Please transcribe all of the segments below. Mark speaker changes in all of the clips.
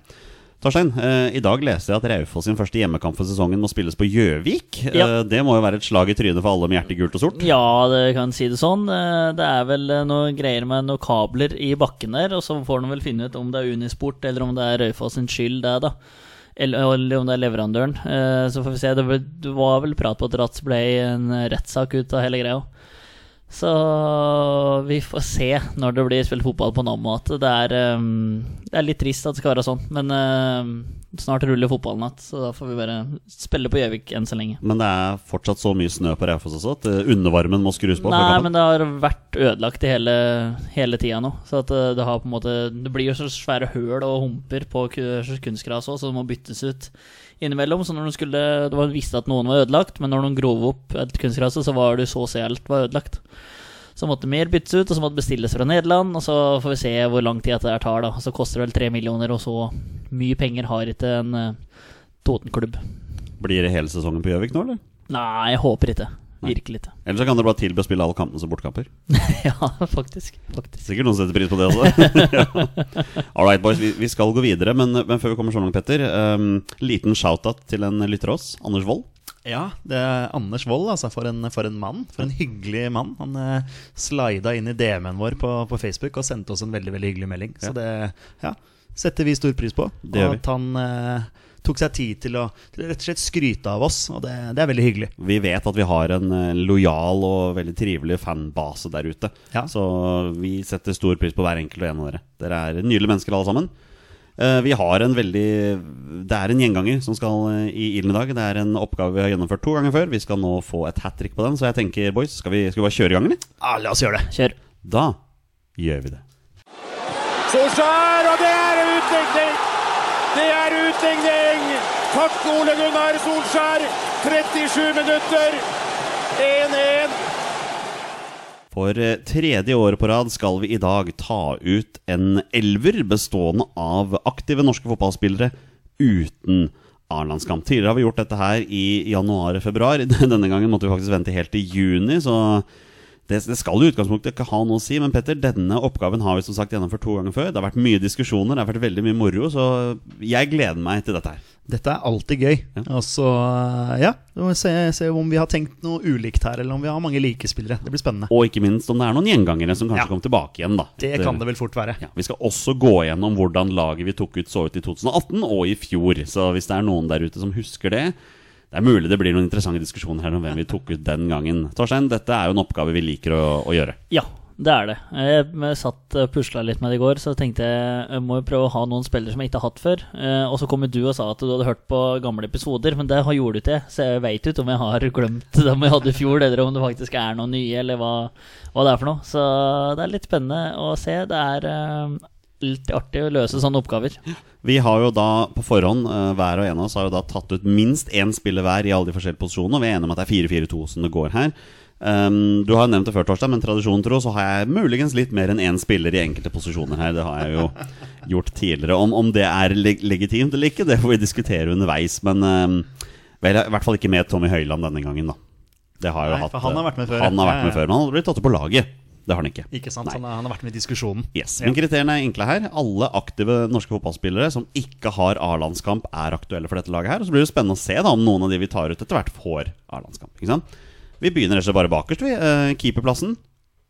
Speaker 1: Torstein, eh, i dag leste jeg at Raufoss sin første hjemmekamp for sesongen må spilles på Gjøvik.
Speaker 2: Ja.
Speaker 1: Eh, det må jo være et slag i trynet for alle med hjertet gult og sort.
Speaker 2: Ja, det kan si det sånn. Eh, Det er vel eh, noe greier med noen kabler i bakken der, og så får de vel finne ut om det er Unisport eller om det er Raufoss sin skyld, det, da. Eller, eller om det er leverandøren. Eh, Så får vi se. Det ble- det var vel prat på at Ratz ble en rettssak ut av hele greia. Så vi får se når det blir spilt fotball på Nammo at det er, eh, det er litt trist at det skal være sånn, men eh, snart ruller fotballen igjen, så da får vi bare spille på Gjøvik enn så lenge.
Speaker 1: Men det er fortsatt så mye snø på Raufoss også at eh, undervarmen må skrus på. før
Speaker 2: Nei,
Speaker 1: kampen.
Speaker 2: men det har vært ødelagt i hele, hele tida nå. Så at eh, det har på en måte Det blir jo så svære høl og humper på ku- kunstgras òg, så det må byttes ut innimellom. Så når du skulle Det var visste at noen var ødelagt, men når de grov opp et kunstgras, så var det jo så å si alt var ødelagt. Så måtte mer byttes ut, og så måtte bestilles fra Nederland. Og så får vi se hvor lang tid dette her tar, da. Og så koster det vel tre millioner, og så mye penger har ikke en eh, Toten-klubb.
Speaker 1: Blir det hele sesongen på Gjøvik nå, eller?
Speaker 2: Nei, jeg håper ikke. Virkelig ikke.
Speaker 1: Eller så kan dere bare tilby å spille alle kampene som bortkamper.
Speaker 2: Ja, faktisk. faktisk.
Speaker 1: Sikkert noen setter pris på det også. ja. All right, boys, vi, vi skal gå videre, men, men før vi kommer så langt, Petter. Um, liten shout-out til en lytter av oss, Anders Wold.
Speaker 3: Ja, det er Anders Wold, altså. For en, for en mann. For en hyggelig mann. Han eh, slida inn i DM-en vår på, på Facebook og sendte oss en veldig veldig hyggelig melding.
Speaker 1: Ja.
Speaker 3: Så det ja, setter vi stor pris på.
Speaker 1: Det gjør
Speaker 3: og at han eh, tok seg tid til å til å rett og slett skryte av oss, og det, det er veldig hyggelig.
Speaker 1: Vi vet at vi har en eh, lojal og veldig trivelig fanbase der ute.
Speaker 3: Ja.
Speaker 1: Så vi setter stor pris på hver enkelt og en av dere. Dere er nydelige mennesker alle sammen. Eh, Vi har en veldig Det er en gjenganger som skal eh, i ilden i dag. Det er en oppgave vi har gjennomført to ganger før. Vi skal nå få et hat trick på den. Så jeg tenker, boys, skal vi, skal vi bare kjøre i gang, eller?
Speaker 3: Ja, la oss gjøre det.
Speaker 2: Kjør.
Speaker 1: Da gjør vi det.
Speaker 4: Solskjær, og det er utligning! Det er utligning! Takk, Ole Gunnar Solskjær! 37 minutter, 1-1.
Speaker 1: For eh, tredje året på rad skal vi i dag ta ut en elver bestående av aktive norske fotballspillere uten A-landskamp. Tidligere har vi gjort dette her i januar-februar. Denne gangen måtte vi faktisk vente helt til juni, så det, det skal i utgangspunktet ikke ha noe å si, men Petter, denne oppgaven har vi som sagt gjennomført to ganger før. Det har vært mye diskusjoner, det har vært veldig mye moro, så jeg gleder meg til dette her.
Speaker 3: Dette er alltid gøy. Og så, eh, ja, vi må se, se om vi har tenkt noe ulikt her, eller om vi har mange likespillere. Det blir spennende.
Speaker 1: Og ikke minst om det er noen gjengangere som kanskje
Speaker 3: Ja.
Speaker 1: kommer tilbake igjen, da.
Speaker 3: Det
Speaker 1: etter-
Speaker 3: kan det vel fort være.
Speaker 1: Ja, Vi skal også gå gjennom hvordan laget vi tok ut så ut i 2018 og i fjor. Så hvis det er noen der ute som husker det Det er mulig det blir noen interessante diskusjoner her om hvem vi tok ut den gangen. Torstein, dette er jo en oppgave vi liker å, å gjøre.
Speaker 2: Ja, Det er det. Jeg satt og pusla litt med det i går, så tenkte jeg jeg må jo prøve å ha noen spillere som jeg ikke har hatt før. Eh, Og så kom jo du og sa at du hadde hørt på gamle episoder, men det har- gjorde du ikke. Så jeg veit ikke om jeg har glemt dem jeg hadde i fjor, eller om det faktisk er noen nye, eller hva, hva det er for noe. Så det er litt spennende å se. Det er eh, litt artig å løse sånne oppgaver.
Speaker 1: Vi har jo da på forhånd, eh, hver og en av oss har jo da tatt ut minst én spiller hver i alle de forskjellige posisjonene. Vi er enige om at det er 4-4-2 som det går her. Ehm, du har jo nevnt det før, Torstein, men tradisjonen tro så har jeg muligens litt mer enn én spiller i enkelte posisjoner her. Det har jeg jo gjort tidligere. Om, om det er leg legitimt eller ikke, det får vi diskutere underveis. Men ehm, vel, i hvert fall ikke med Tommy Høiland denne gangen, da. Det har jo
Speaker 3: Nei,
Speaker 1: hatt, eh,
Speaker 3: for han har vært med før,
Speaker 1: Han har
Speaker 3: ja.
Speaker 1: vært med
Speaker 3: Ja, ja.
Speaker 1: før, men han har blitt tatt ut på laget. Det har han ikke.
Speaker 3: Ikke sant? sånn
Speaker 1: Nei.
Speaker 3: Så Han, har- han har vært med i diskusjonen.
Speaker 1: Yes, men Kriteriene er enkle her. Alle aktive norske fotballspillere som ikke har A-landskamp, er aktuelle for dette laget. her Og Så blir det spennende å se da om noen av de vi tar ut, etter hvert får A-landskamp. ikke sant? Vi begynner rett og slett bare bakerst. vi Eh, Keeperplassen.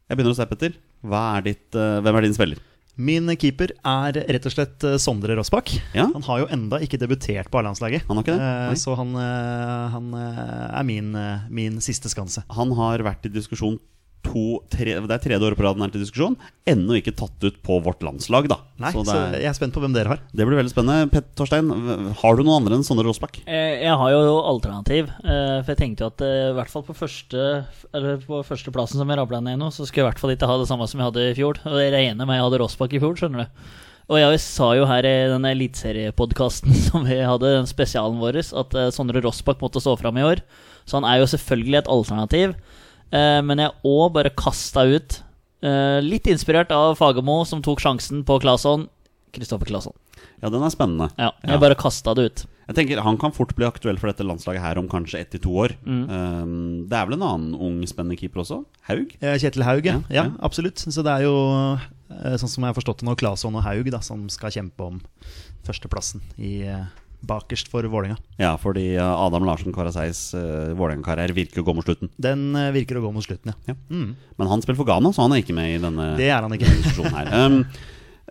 Speaker 1: Jeg begynner å steppe etter. Hva er ditt, eh, hvem er din spiller?
Speaker 3: Min keeper er rett og slett eh, Sondre Rossbakk.
Speaker 1: Ja.
Speaker 3: Han har jo enda ikke debutert på A-landslaget.
Speaker 1: Han har ikke det,
Speaker 3: Eh,
Speaker 1: nei.
Speaker 3: Så han, eh, han eh, er min, eh, min siste skanse.
Speaker 1: Han har vært i diskusjon to, tre, Det er tredje året på rad han er til diskusjon. Ennå ikke tatt ut på vårt landslag, da.
Speaker 3: Nei,
Speaker 1: så
Speaker 3: så,
Speaker 1: det, er,
Speaker 3: jeg er spent på hvem dere har.
Speaker 1: det blir veldig spennende. Pet Torstein, har du noen andre enn Sondre Rosbakk?
Speaker 2: Eh, Jeg har jo alternativ, eh, for jeg tenkte jo at eh, i hvert fall på første Eller på førsteplassen som jeg rabla ned nå, så skulle jeg i hvert fall ikke ha det samme som jeg hadde i fjor. Og jeg regner med jeg hadde Rossbakk i fjor, skjønner du. Og jeg sa jo her i den eliteseriepodkasten som vi hadde, den spesialen vår, at eh, Sondre Rossbakk måtte stå fram i år. Så han er jo selvfølgelig et alternativ. Eh, Men jeg er òg bare kasta ut, eh, litt inspirert av Fagermo, som tok sjansen på Claesson. Kristoffer Claesson.
Speaker 1: Ja, den er spennende.
Speaker 2: Ja,
Speaker 1: Ja.
Speaker 2: jeg bare kasta det ut.
Speaker 1: Jeg tenker Han kan fort bli aktuell for dette landslaget her om kanskje ett til to år. Um, det er vel en annen ung, spennende keeper også? Haug?
Speaker 3: Eh, Kjetil Haug, ja.
Speaker 1: Ja,
Speaker 3: ja.
Speaker 1: ja.
Speaker 3: Absolutt. Så det er jo, eh, sånn som jeg har forstått det nå, Claesson og Haug da, som skal kjempe om førsteplassen i eh, bakerst for Vålerenga.
Speaker 1: Ja, fordi uh, Adam Larsen Karaseis uh, Vålerenga-karriere virker å gå mot slutten.
Speaker 3: Den eh, virker å gå mot slutten, ja.
Speaker 1: Ja. Men han spiller for Ghana, så han er ikke med i denne
Speaker 3: Det er han ikke.
Speaker 1: posisjonen her. Um,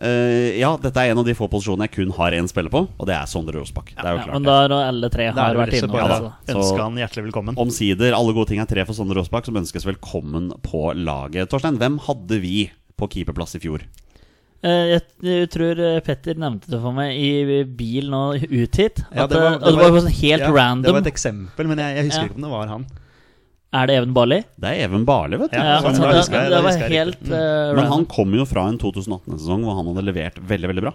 Speaker 1: uh, ja, dette er en av de få posisjonene jeg kun har én spiller på, og det er Sondre Rosbakk. Det er jo
Speaker 2: Ja,
Speaker 1: klart.
Speaker 2: men da har alle tre
Speaker 3: Da
Speaker 2: har
Speaker 3: er det
Speaker 2: vært
Speaker 3: vel
Speaker 2: innom.
Speaker 1: ja
Speaker 3: bare å
Speaker 2: altså.
Speaker 1: da. Så-
Speaker 3: ønske han hjertelig velkommen.
Speaker 1: Omsider, alle gode ting er tre for Sondre Rosbakk, som ønskes velkommen på laget. Torstein, hvem hadde vi på keeperplass i fjor?
Speaker 2: Eh, Jeg, jeg tror eh, Petter nevnte det for meg i bil nå ut hit. At,
Speaker 3: Ja,
Speaker 2: det var, det var, sånn helt
Speaker 3: ja, Det
Speaker 2: random.
Speaker 3: var et eksempel, men jeg, jeg husker
Speaker 2: Ja.
Speaker 3: ikke om det var han.
Speaker 2: er det Even Barli?
Speaker 1: Det er Even Barli, vet du.
Speaker 3: Ja,
Speaker 2: altså,
Speaker 3: sånn, da
Speaker 2: det,
Speaker 3: husker jeg-
Speaker 2: det
Speaker 3: da
Speaker 2: var
Speaker 3: husker jeg
Speaker 2: helt
Speaker 3: riktig. Mm.
Speaker 2: eh,
Speaker 1: Men han
Speaker 2: random.
Speaker 1: kom jo fra en 2018-sesong hvor han hadde levert veldig veldig bra.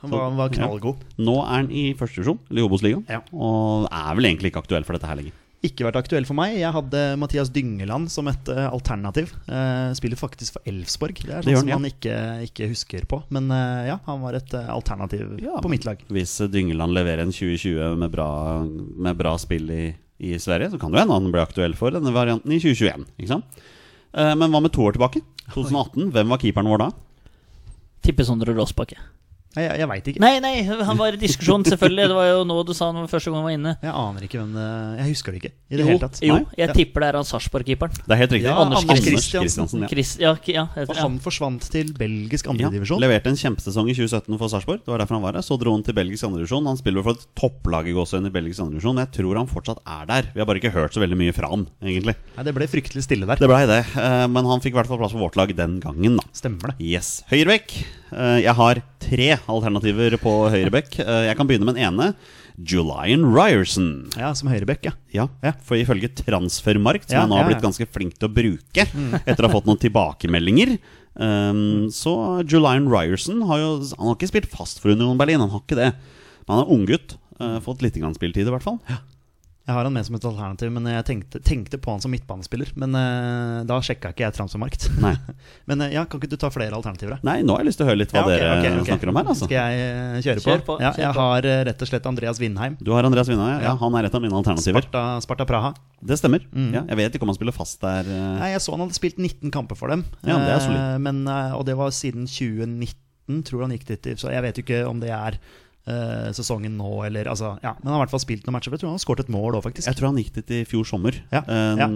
Speaker 3: Han var, han var knallgod.
Speaker 1: Nå er han i første divisjon, eller i Obos-ligaen,
Speaker 3: Ja.
Speaker 1: og er vel egentlig ikke aktuell for dette her lenger.
Speaker 3: Ikke vært aktuell for meg. Jeg hadde Mathias Dyngeland som et eh, alternativ. Eh, spiller faktisk for Elfsborg. Det er
Speaker 1: Det
Speaker 3: sånn
Speaker 1: gjør
Speaker 3: som
Speaker 1: han,
Speaker 3: man ikke, ikke husker på. Men eh, ja, han var et eh, alternativ
Speaker 1: Ja.
Speaker 3: på mitt lag.
Speaker 1: Hvis Dyngeland leverer en 2020 med bra, med bra spill i, i Sverige, så kan det jo hende han blir aktuell for denne varianten i 2021. Ikke sant? Eh, Men hva med to år tilbake? 2018, hvem var keeperen vår da?
Speaker 2: Tipper Sondre Råsbakke.
Speaker 3: Nei, jeg, jeg veit ikke.
Speaker 2: Nei, nei, han var i diskusjon, selvfølgelig. Det var jo nå du sa han var første gang han var inne.
Speaker 3: Jeg aner ikke hvem det Jeg husker det ikke i det
Speaker 2: Jo,
Speaker 3: hele tatt.
Speaker 2: jo
Speaker 3: Nei.
Speaker 2: jeg
Speaker 3: Ja.
Speaker 2: tipper det er han Sarpsborg-keeperen.
Speaker 1: Det er helt riktig.
Speaker 3: Ja,
Speaker 1: Anders,
Speaker 3: Anders
Speaker 1: Kristiansen.
Speaker 3: Christiansen.
Speaker 1: Christiansen, ja.
Speaker 2: Chris, ja, k- ja, jeg-
Speaker 3: Og
Speaker 2: ja.
Speaker 3: han forsvant til belgisk
Speaker 1: Ja,
Speaker 3: andredivisjon.
Speaker 1: leverte en kjempesesong i 2017 for Sarpsborg. Det var derfor han var her. Så dro han til belgisk andredivisjon. Han spiller jo for et topplag i gåsehud i belgisk andredivisjon. Jeg tror han fortsatt er der. Vi har bare ikke hørt så veldig mye fra han, egentlig.
Speaker 3: Nei, det ble fryktelig stille der.
Speaker 1: Det blei det. eh, Men han fikk i hvert fall plass på vårt lag den gangen, da.
Speaker 3: Stemmer det.
Speaker 1: Yes. Høyrebekk. Eh, Jeg har tre alternativer på høyrebekk. Eh, Jeg kan begynne med den ene. Julian Ryerson.
Speaker 3: Ja, som høyrebekk, ja.
Speaker 1: Ja, for ifølge Transfermarkt, som
Speaker 3: Ja,
Speaker 1: jeg nå har
Speaker 3: ja, ja. Mm.
Speaker 1: blitt ganske flink til å bruke etter å ha fått noen tilbakemeldinger um, Så Julian Ryerson har jo Han har ikke spilt fast for Union Berlin, han har ikke det. Men han er unggutt. Uh, fått litt grann spilletid, i hvert fall.
Speaker 3: Jeg har han med som et alternativ, men jeg tenkte, tenkte på han som midtbanespiller. Men eh, da sjekka ikke jeg transfermarkt.
Speaker 1: Nei.
Speaker 3: men eh, ja, kan ikke du ta flere alternativer? da?
Speaker 1: Nei, nå har jeg lyst til å høre litt hva
Speaker 3: Ja, ok,
Speaker 1: dere
Speaker 3: ok, ok.
Speaker 1: snakker om her. Altså.
Speaker 3: Skal jeg eh, kjøre på?
Speaker 2: Kjør på,
Speaker 3: Ja,
Speaker 2: kjør på.
Speaker 3: jeg har eh, rett og slett Andreas Vindheim.
Speaker 1: Du har Andreas Vinna, ja. ja.
Speaker 3: Ja.
Speaker 1: Han er et av mine alternativer.
Speaker 3: Sparta, Sparta Praha.
Speaker 1: Det stemmer. Ja, jeg vet ikke om han spiller fast der. eh.
Speaker 3: Nei, jeg så han hadde spilt 19 kamper for dem.
Speaker 1: Ja, det er solid.
Speaker 3: Eh, men, eh, og det var siden 2019, tror han gikk dit. Så jeg vet jo ikke om det er eh, sesongen nå, eller altså Ja, men han har i hvert fall spilt noen matcher. for Jeg tror han har skåret et mål òg, faktisk.
Speaker 1: Jeg tror han gikk dit i fjor sommer.
Speaker 3: Ja,
Speaker 1: Eh,
Speaker 3: ja.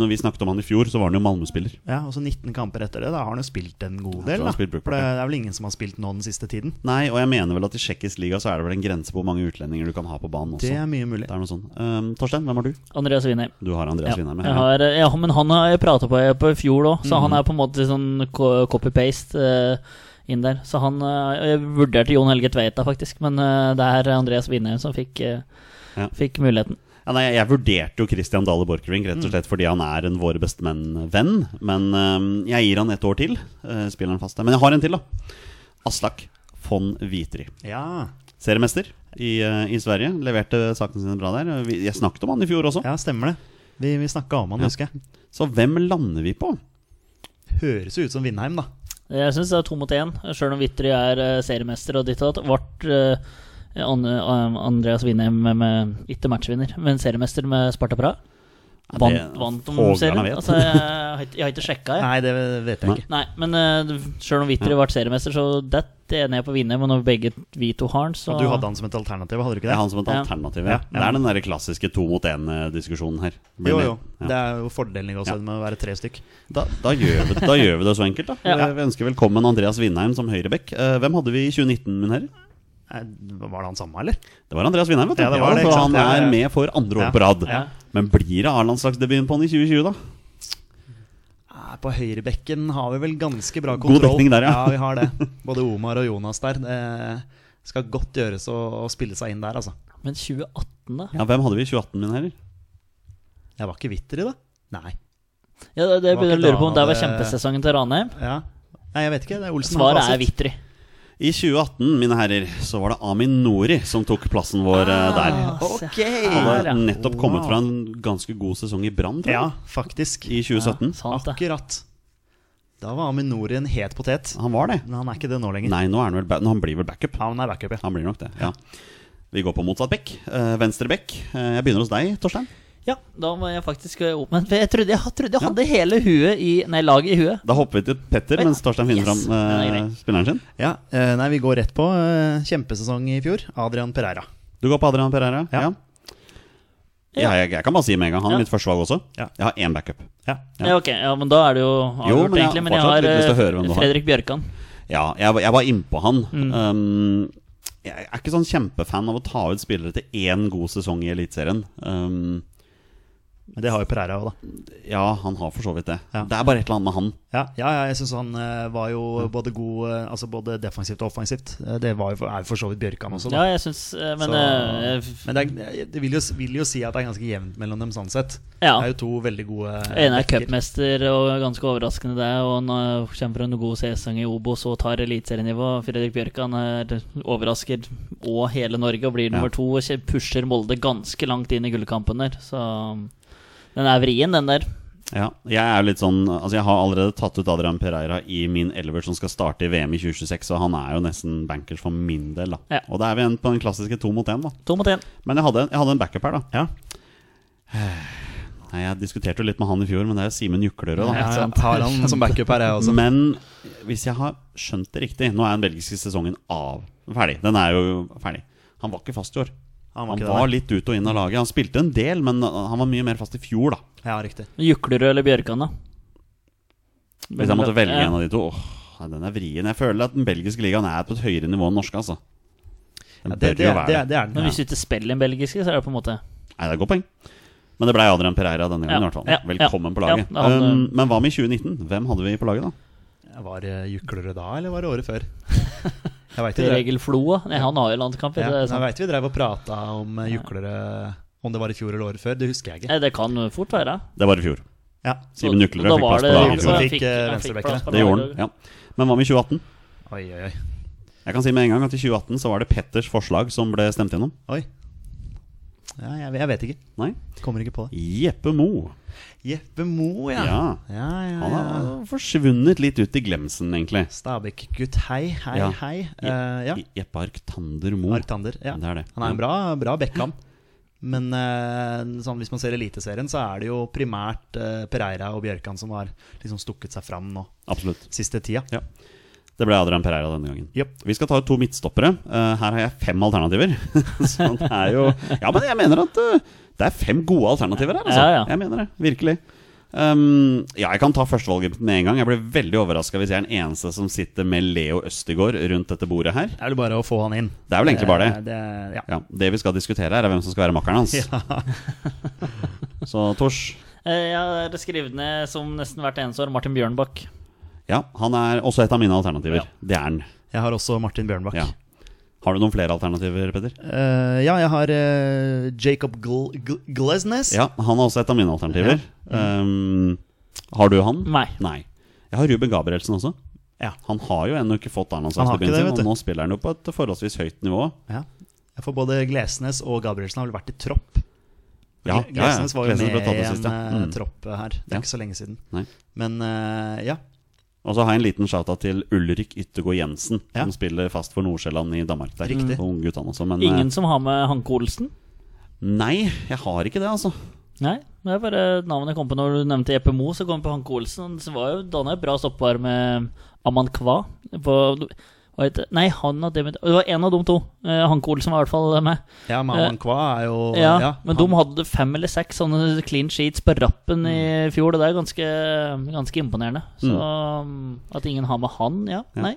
Speaker 1: Når vi snakket om han i fjor, så var han jo Malmö-spiller.
Speaker 3: Ja, og så 19 kamper etter det. Da har han jo spilt en god
Speaker 1: Jeg tror
Speaker 3: del.
Speaker 1: han
Speaker 3: Da.
Speaker 1: har spilt
Speaker 3: For det,
Speaker 1: brukbart,
Speaker 3: det
Speaker 1: ja.
Speaker 3: er vel ingen som har spilt nå den siste tiden.
Speaker 1: Nei, og jeg mener vel at i tsjekkisk liga så er det vel en grense på hvor mange utlendinger du kan ha på banen også.
Speaker 3: Det er mye mulig.
Speaker 1: Det er noe sånn. Ehm, Torstein, hvem har du?
Speaker 2: Andreas Winheim.
Speaker 1: Du har Andreas
Speaker 2: Ja,
Speaker 1: Winheim med. Mhm.
Speaker 2: jeg har, ja, men han har jeg prata på jeg på i fjor òg, så han er på en måte sånn ko- copy-paste eh, inn der. Så han eh, Jeg vurderte Jon Helge Tveita, faktisk, men eh, det er Andreas Winheim som fikk, eh,
Speaker 1: Ja.
Speaker 2: fikk muligheten.
Speaker 1: Ja, nei, jeg vurderte jo Christian Dale Borchgrevink rett
Speaker 2: Mm.
Speaker 1: og slett fordi han er en våre bestemenn-venn. Men ehm, jeg gir han ett år til. eh, spiller han fast der. Men jeg har en til, da. Aslak von Vitry.
Speaker 3: Ja.
Speaker 1: Seriemester i, eh, i Sverige. Leverte sakene sine bra der. Vi- Jeg snakket om han i fjor også.
Speaker 3: ja, stemmer det. Vi, vi snakka om han, husker jeg.
Speaker 1: Så hvem lander vi på?
Speaker 3: Høres jo ut som Vindheim, da.
Speaker 2: Jeg syns det er to mot én, sjøl om Vitry er eh, seriemester og ditt og datt. Vart eh, An- eh, Andreas Winheim med, med ikke matchvinner, men seriemester med Sparta Praha.
Speaker 1: Ja, det-
Speaker 2: Vant, vant om
Speaker 1: Hågland
Speaker 2: serien.
Speaker 1: vet.
Speaker 2: Altså, jeg, har ikke- jeg har ikke sjekka, jeg.
Speaker 3: Nei, det vet jeg
Speaker 1: Nei.
Speaker 3: ikke.
Speaker 2: Nei, men uh, sjøl om Vitry ble seriemester, så detter jeg ned på Vinheim. Og når begge vi to har den, så
Speaker 3: Og du hadde han som et alternativ, hadde du
Speaker 1: Det
Speaker 3: ikke
Speaker 1: er
Speaker 3: det?
Speaker 1: han som et
Speaker 2: Ja.
Speaker 1: alternativ.
Speaker 3: Ja,
Speaker 1: Ja.
Speaker 3: ja.
Speaker 1: Det er den der klassiske to mot én-diskusjonen her. Blir
Speaker 3: Jo,
Speaker 1: med.
Speaker 3: jo.
Speaker 1: Ja.
Speaker 3: Det er jo fordelen også med å være tre stykk.
Speaker 1: Da, da, gjør vi, da gjør vi det så enkelt, da.
Speaker 2: Ja.
Speaker 1: Vi ønsker velkommen Andreas Vindheim som høyrebekk. Eh, Hvem hadde vi i 2019, min herre?
Speaker 3: Nei, Var det han samme, eller?
Speaker 1: Det var Andreas Vindheim, vet du.
Speaker 3: Ja, det var det,
Speaker 1: så
Speaker 3: ikke
Speaker 1: han
Speaker 3: sant? Ja, ja,
Speaker 1: er
Speaker 3: ja.
Speaker 1: med for andre
Speaker 3: Ja.
Speaker 1: år på rad.
Speaker 2: Ja.
Speaker 1: Men blir det A-landslagsdebuten på han i 2020, da?
Speaker 3: Nei, På høyrebekken har vi vel ganske bra
Speaker 1: God
Speaker 3: kontroll.
Speaker 1: dekning der, ja.
Speaker 3: ja, vi har det. Både Omar og Jonas der. Det skal godt gjøres å, å spille seg inn der, altså.
Speaker 2: Men 2018, da?
Speaker 1: Ja, hvem hadde vi i 2018, min herrer?
Speaker 3: Jeg var ikke Witter i det. Nei.
Speaker 2: Ja, det, det
Speaker 3: Var
Speaker 2: begynner
Speaker 3: ikke
Speaker 2: jeg å lure på om
Speaker 3: da
Speaker 2: det var
Speaker 3: det-
Speaker 2: kjempesesongen til Ranheim.
Speaker 3: Ja. Nei, jeg vet ikke. Det er Olsen
Speaker 2: Svaret
Speaker 3: har
Speaker 2: er
Speaker 3: fasit.
Speaker 2: Vitry.
Speaker 1: I 2018, mine herrer, så var det Amin Nori som tok plassen vår eh, der. Han
Speaker 2: her,
Speaker 1: hadde
Speaker 2: Ah, ja.
Speaker 1: nettopp kommet
Speaker 3: Wow.
Speaker 1: fra en ganske god sesong i Brann, tror
Speaker 3: Ja,
Speaker 1: jeg.
Speaker 3: faktisk.
Speaker 1: I 2017.
Speaker 2: Sant, det.
Speaker 3: Akkurat. Da var Aminori en het potet.
Speaker 1: Han var det.
Speaker 3: Men han er ikke det nå lenger.
Speaker 1: Nei, nå er han vel ba nå, han blir vel backup.
Speaker 3: Ja, han er backup, ja.
Speaker 1: Han blir nok det, ja. Vi går på motsatt bekk. Eh, venstre bekk. Eh, jeg begynner hos deg, Torstein.
Speaker 2: Ja, da må jeg faktisk eh, opp med For jeg trodde jeg, trodde jeg hadde hele huet i Nei, laget i huet.
Speaker 1: Da hopper vi til Petter
Speaker 2: Oi,
Speaker 1: mens Torstein finner
Speaker 2: yes.
Speaker 1: fram eh,
Speaker 2: Den er grei.
Speaker 1: spilleren sin.
Speaker 3: ja. eh, Nei, vi går rett på. eh, Kjempesesong i fjor. Adrian Pereira.
Speaker 1: Du går på Adrian Pereira?
Speaker 3: Ja.
Speaker 1: Ja, jeg, jeg kan bare si med en gang. Han
Speaker 2: Ja.
Speaker 1: er mitt første valg også.
Speaker 3: Ja.
Speaker 1: Jeg har én backup.
Speaker 3: Ja.
Speaker 2: Ja. ok, ja, men da er det jo avgjort,
Speaker 1: Jo, men jeg har
Speaker 2: egentlig. Men jeg
Speaker 1: fortsatt
Speaker 2: har
Speaker 1: litt lyst til å høre hvem
Speaker 2: eh,
Speaker 1: du har.
Speaker 2: Fredrik Bjørkan.
Speaker 1: Ja, jeg, var- jeg var innpå han.
Speaker 3: Mm.
Speaker 1: Um, jeg er ikke sånn kjempefan av å ta ut spillere til én god sesong i Eliteserien. Um,
Speaker 3: Men det har jo Pereira òg, da.
Speaker 1: ja, han har for så vidt det.
Speaker 3: Ja.
Speaker 1: Det er bare et eller annet med han.
Speaker 3: Ja, ja, ja jeg syns han eh, var jo både god eh, Altså både defensivt og offensivt. Eh, Det var jo for, er jo for så vidt Bjørkan også,
Speaker 2: Ja,
Speaker 3: da.
Speaker 2: jeg syns eh, Men
Speaker 3: Sånn. Så-
Speaker 2: eh, jeg-
Speaker 3: men det, er, det vil, jo, vil jo si at det er ganske jevnt mellom dem, sånn sett.
Speaker 2: Ja.
Speaker 3: Det er jo to veldig gode eh,
Speaker 2: Ene er
Speaker 3: backer.
Speaker 2: cupmester og ganske overraskende det. Og han eh, kommer fra en god sesong i Obos og tar eliteserienivå. Fredrik Bjørkan er overrasker og hele Norge og blir nummer to. Og kje- pusher Molde ganske langt inn i gullkampen der. Så um, den er vrien, den der.
Speaker 1: Ja, jeg er jo litt sånn Altså jeg har allerede tatt ut Adrian Pereira i min elver som skal starte i VM i 2026, så han er jo nesten bankers for min del, da.
Speaker 2: Ja.
Speaker 1: Og da er vi en på den klassiske to mot én, da.
Speaker 2: To mot én.
Speaker 1: Men jeg hadde, jeg hadde en backup her, da.
Speaker 3: Ja.
Speaker 1: Nei, Jeg diskuterte jo litt med han i fjor, men det er jo Simen Juklerød, da.
Speaker 3: Ja, altså- jeg har han som backup her, jeg også.
Speaker 1: Men hvis jeg har skjønt det riktig Nå er den belgiske sesongen av ferdig. Den er jo ferdig. Han var ikke fast i år.
Speaker 3: Han var
Speaker 1: Han
Speaker 3: ikke det,
Speaker 1: var
Speaker 3: nei.
Speaker 1: litt ut og inn av laget. Han spilte en del, men han var mye mer fast i fjor, da.
Speaker 3: Ja, riktig.
Speaker 2: Juklerød eller Bjørkan, da?
Speaker 1: Hvis jeg måtte velge
Speaker 2: Ja.
Speaker 1: en av de to åh, nei, Den er vrien. Jeg føler at den belgiske ligaen er på et høyere nivå enn den norske. altså Den
Speaker 3: Ja,
Speaker 1: bør
Speaker 3: det, det,
Speaker 1: jo
Speaker 3: det,
Speaker 1: være det.
Speaker 3: det er
Speaker 2: Men
Speaker 3: den.
Speaker 2: hvis du ikke spiller den belgiske, så er det på en måte
Speaker 1: Nei, det er et godt poeng. Men det blei Adrian Pereira denne gangen.
Speaker 2: Ja,
Speaker 1: i hvert fall
Speaker 2: ja,
Speaker 1: Velkommen
Speaker 2: ja,
Speaker 1: på laget.
Speaker 2: ja, han, eh,
Speaker 1: um, men hva med i 2019? Hvem hadde vi på laget da?
Speaker 3: Ja. Var eh, det Juklerud da, eller var det året før? Jeg veit vi, drev-
Speaker 2: regel Floa. Nei, han har jo landkamp.
Speaker 3: ja,
Speaker 2: Ja, det, er
Speaker 3: jeg
Speaker 2: sant.
Speaker 3: vet vi drev og prata om eh, Juklerud Om det var i fjor eller året før, det husker jeg ikke.
Speaker 2: Nei, det kan fort være.
Speaker 1: Det var i fjor.
Speaker 3: Ja,
Speaker 2: Så-
Speaker 1: Simen Nuklerød
Speaker 2: da
Speaker 1: fikk
Speaker 2: var
Speaker 1: plass på
Speaker 2: det-
Speaker 1: laget i
Speaker 2: så
Speaker 1: fjor.
Speaker 2: han
Speaker 3: Fikk,
Speaker 2: fikk-
Speaker 3: eh,
Speaker 2: han fikk
Speaker 3: venstrebekkene.
Speaker 2: plass på
Speaker 1: Det gjorde han.
Speaker 2: laget.
Speaker 1: ja Men hva med i 2018?
Speaker 3: Oi, oi, oi.
Speaker 1: Jeg kan si med en gang at I 2018 så var det Petters forslag som ble stemt gjennom.
Speaker 3: oi. Ja, jeg, jeg vet ikke.
Speaker 1: Nei?
Speaker 3: Kommer ikke på det.
Speaker 1: Jeppe Mo.
Speaker 3: Jeppe Mo, ja.
Speaker 1: Ja.
Speaker 3: ja, ja,
Speaker 1: Han
Speaker 3: ja.
Speaker 1: har forsvunnet litt ut i glemsen, egentlig.
Speaker 3: Stabæk-gutt, hei, hei,
Speaker 1: Ja.
Speaker 3: hei. Eh, ja.
Speaker 1: Jeppe Arctander Mo.
Speaker 3: Arctander. Ja.
Speaker 1: Det er det.
Speaker 3: Han er
Speaker 1: Ja.
Speaker 3: en bra, bra back, han. Men eh, sånn, hvis man ser Eliteserien, så er det jo primært eh, Pereira og Bjørkan som har liksom stukket seg fram nå
Speaker 1: Absolutt.
Speaker 3: siste tida.
Speaker 1: Ja. Det ble Adrian Pereira denne gangen.
Speaker 3: Jepp.
Speaker 1: Vi skal ta ut to midtstoppere. Eh, her har jeg fem alternativer. så det er jo Ja, men jeg mener at eh, det er fem gode alternativer her, altså.
Speaker 2: Ja, ja.
Speaker 1: Jeg mener det. Virkelig. Um, ja, jeg kan ta førstevalget med en gang. Jeg blir veldig overraska hvis jeg er den eneste som sitter med Leo Østigård rundt dette bordet her.
Speaker 3: Det er vel bare å få han inn. Eh,
Speaker 1: Det er vel egentlig bare det.
Speaker 3: det er- ja.
Speaker 1: Ja, Det vi skal diskutere her, er hvem som skal være makkeren hans. Så Tors
Speaker 2: Eh, Jeg har skrevet ned som nesten hvert eneste år Martin Bjørnbakk.
Speaker 1: Ja, han er også et av mine alternativer.
Speaker 2: Ja.
Speaker 1: Det er han.
Speaker 3: Jeg har også Martin Bjørnbakk.
Speaker 1: Ja. Har du noen flere alternativer, Petter?
Speaker 3: Eh, ja, jeg har eh, Jacob Gl Gl Glesnes.
Speaker 1: Ja, han er også et av mine alternativer. Um, har du han?
Speaker 2: Nei.
Speaker 1: Jeg har Ruben Gabrielsen også.
Speaker 3: Ja.
Speaker 1: Han har jo ennå ikke fått
Speaker 3: Han har ikke
Speaker 1: A-landslagsdebuten
Speaker 3: det,
Speaker 1: sin,
Speaker 3: vet
Speaker 1: og
Speaker 3: du.
Speaker 1: nå spiller han jo på et forholdsvis høyt nivå.
Speaker 3: Ja. Jeg får både Glesnes og Gabrielsen har vel vært i tropp.
Speaker 1: Ja,
Speaker 3: Gl- Glesnes var jo
Speaker 1: Glesnes ble
Speaker 3: med
Speaker 1: tatt
Speaker 3: i
Speaker 1: ut sist,
Speaker 3: en
Speaker 1: ja.
Speaker 3: eh,
Speaker 1: Mm.
Speaker 3: tropp eh, her. Det er
Speaker 1: Ja.
Speaker 3: ikke så lenge siden.
Speaker 1: Nei.
Speaker 3: Men eh, ja.
Speaker 1: Og så har jeg en liten shout-out til Ulrik Yttergård Jensen,
Speaker 3: Ja.
Speaker 1: som spiller fast for Nordsjælland i Danmark. Der.
Speaker 3: Riktig.
Speaker 1: Og unggutt han også, men
Speaker 2: Ingen
Speaker 1: eh,
Speaker 2: som har med Hanke Olsen?
Speaker 1: Nei, jeg har ikke det, altså.
Speaker 2: Nei, det er bare navnet jeg kom på når du nevnte Jeppe Mo, så kom jeg på Hanke Olsen. Han var jo danna et bra stoppar med Aman Kwa. På, hva heter, nei, han og Demit Det var en av de to. Eh, Hanke Olsen var i hvert fall med.
Speaker 3: Ja, Maman Kwa er jo
Speaker 2: Eh, Ja,
Speaker 3: ja,
Speaker 2: men
Speaker 3: han-
Speaker 2: de hadde fem eller seks sånne clean sheets på rappen i
Speaker 3: Mm.
Speaker 2: fjor. og Det er ganske, ganske imponerende. Så um, at ingen har med han, ja. Nei.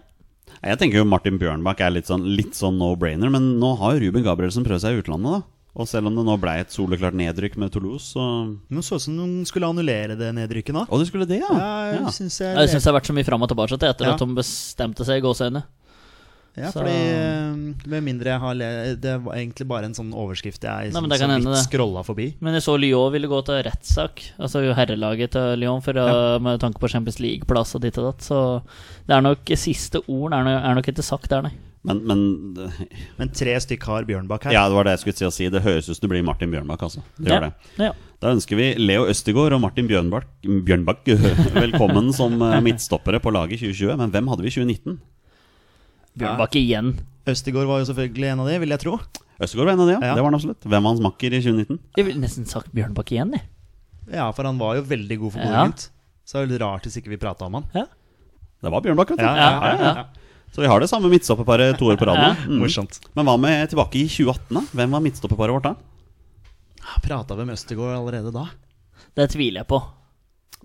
Speaker 1: Jeg tenker jo Martin Bjørnbakk er litt sånn, litt sånn no-brainer, men nå har jo Ruben Gabrielsen prøvd seg i utlandet, da. Og selv om det nå ble et soleklart nedrykk med Toulouse, så
Speaker 3: Men så ut som de skulle annullere det nedrykket nå.
Speaker 1: Å, du skulle det, ja?
Speaker 3: Ja,
Speaker 1: ja.
Speaker 3: Synes jeg,
Speaker 2: Jeg syns det har vært så mye fram og tilbake til etter
Speaker 3: Ja.
Speaker 2: at de bestemte seg i gåseøynene.
Speaker 3: ja,
Speaker 2: så-
Speaker 3: fordi eh, Med mindre jeg har le Det var egentlig bare en sånn overskrift jeg
Speaker 2: Nei, men
Speaker 3: som
Speaker 2: det
Speaker 3: så
Speaker 2: kan hende
Speaker 3: vidt
Speaker 2: det.
Speaker 3: scrolla forbi.
Speaker 2: Men jeg så Lyon ville gå til rettssak, altså jo herrelaget til Lyon, for, å- med tanke på Champions League-plass og ditt og datt. Så det er nok siste ord er, no- er nok ikke sagt der, nei.
Speaker 1: Men, men
Speaker 3: Men tre stykk har Bjørnbakk her.
Speaker 1: Ja, det var det jeg skulle til å si. Det høres ut som det blir Martin Bjørnbakk, altså. Det gjør
Speaker 2: ja.
Speaker 1: det.
Speaker 2: Ja.
Speaker 1: Da ønsker vi Leo Østegård og Martin Bjørnbakk, Bjørnbakk velkommen som eh, midtstoppere på laget i 2020. Men hvem hadde vi i 2019?
Speaker 2: Bjørnbakk igjen.
Speaker 3: Østegård var jo selvfølgelig en av de, vil jeg tro.
Speaker 1: Østegård var en av de, ja.
Speaker 3: Ja.
Speaker 1: Det var han absolutt. Hvem var hans makker i 2019?
Speaker 2: Jeg ville nesten sagt Bjørnbakk igjen, jeg.
Speaker 3: Ja, for han var jo veldig god for
Speaker 2: Ja.
Speaker 3: Bodø-Glimt. Så det er vel rart hvis ikke vi prata om han.
Speaker 2: Ja.
Speaker 1: Det var Bjørnbakk, vet du.
Speaker 3: Ja, ja, ja, ja.
Speaker 1: Så vi har det samme midtstopperparet to år på rad nå. Mm.
Speaker 3: Morsomt.
Speaker 1: Men hva med tilbake i 2018, da? Hvem var midtstopperparet vårt da?
Speaker 3: Prata vi om Østegård allerede da?
Speaker 2: Det tviler jeg på.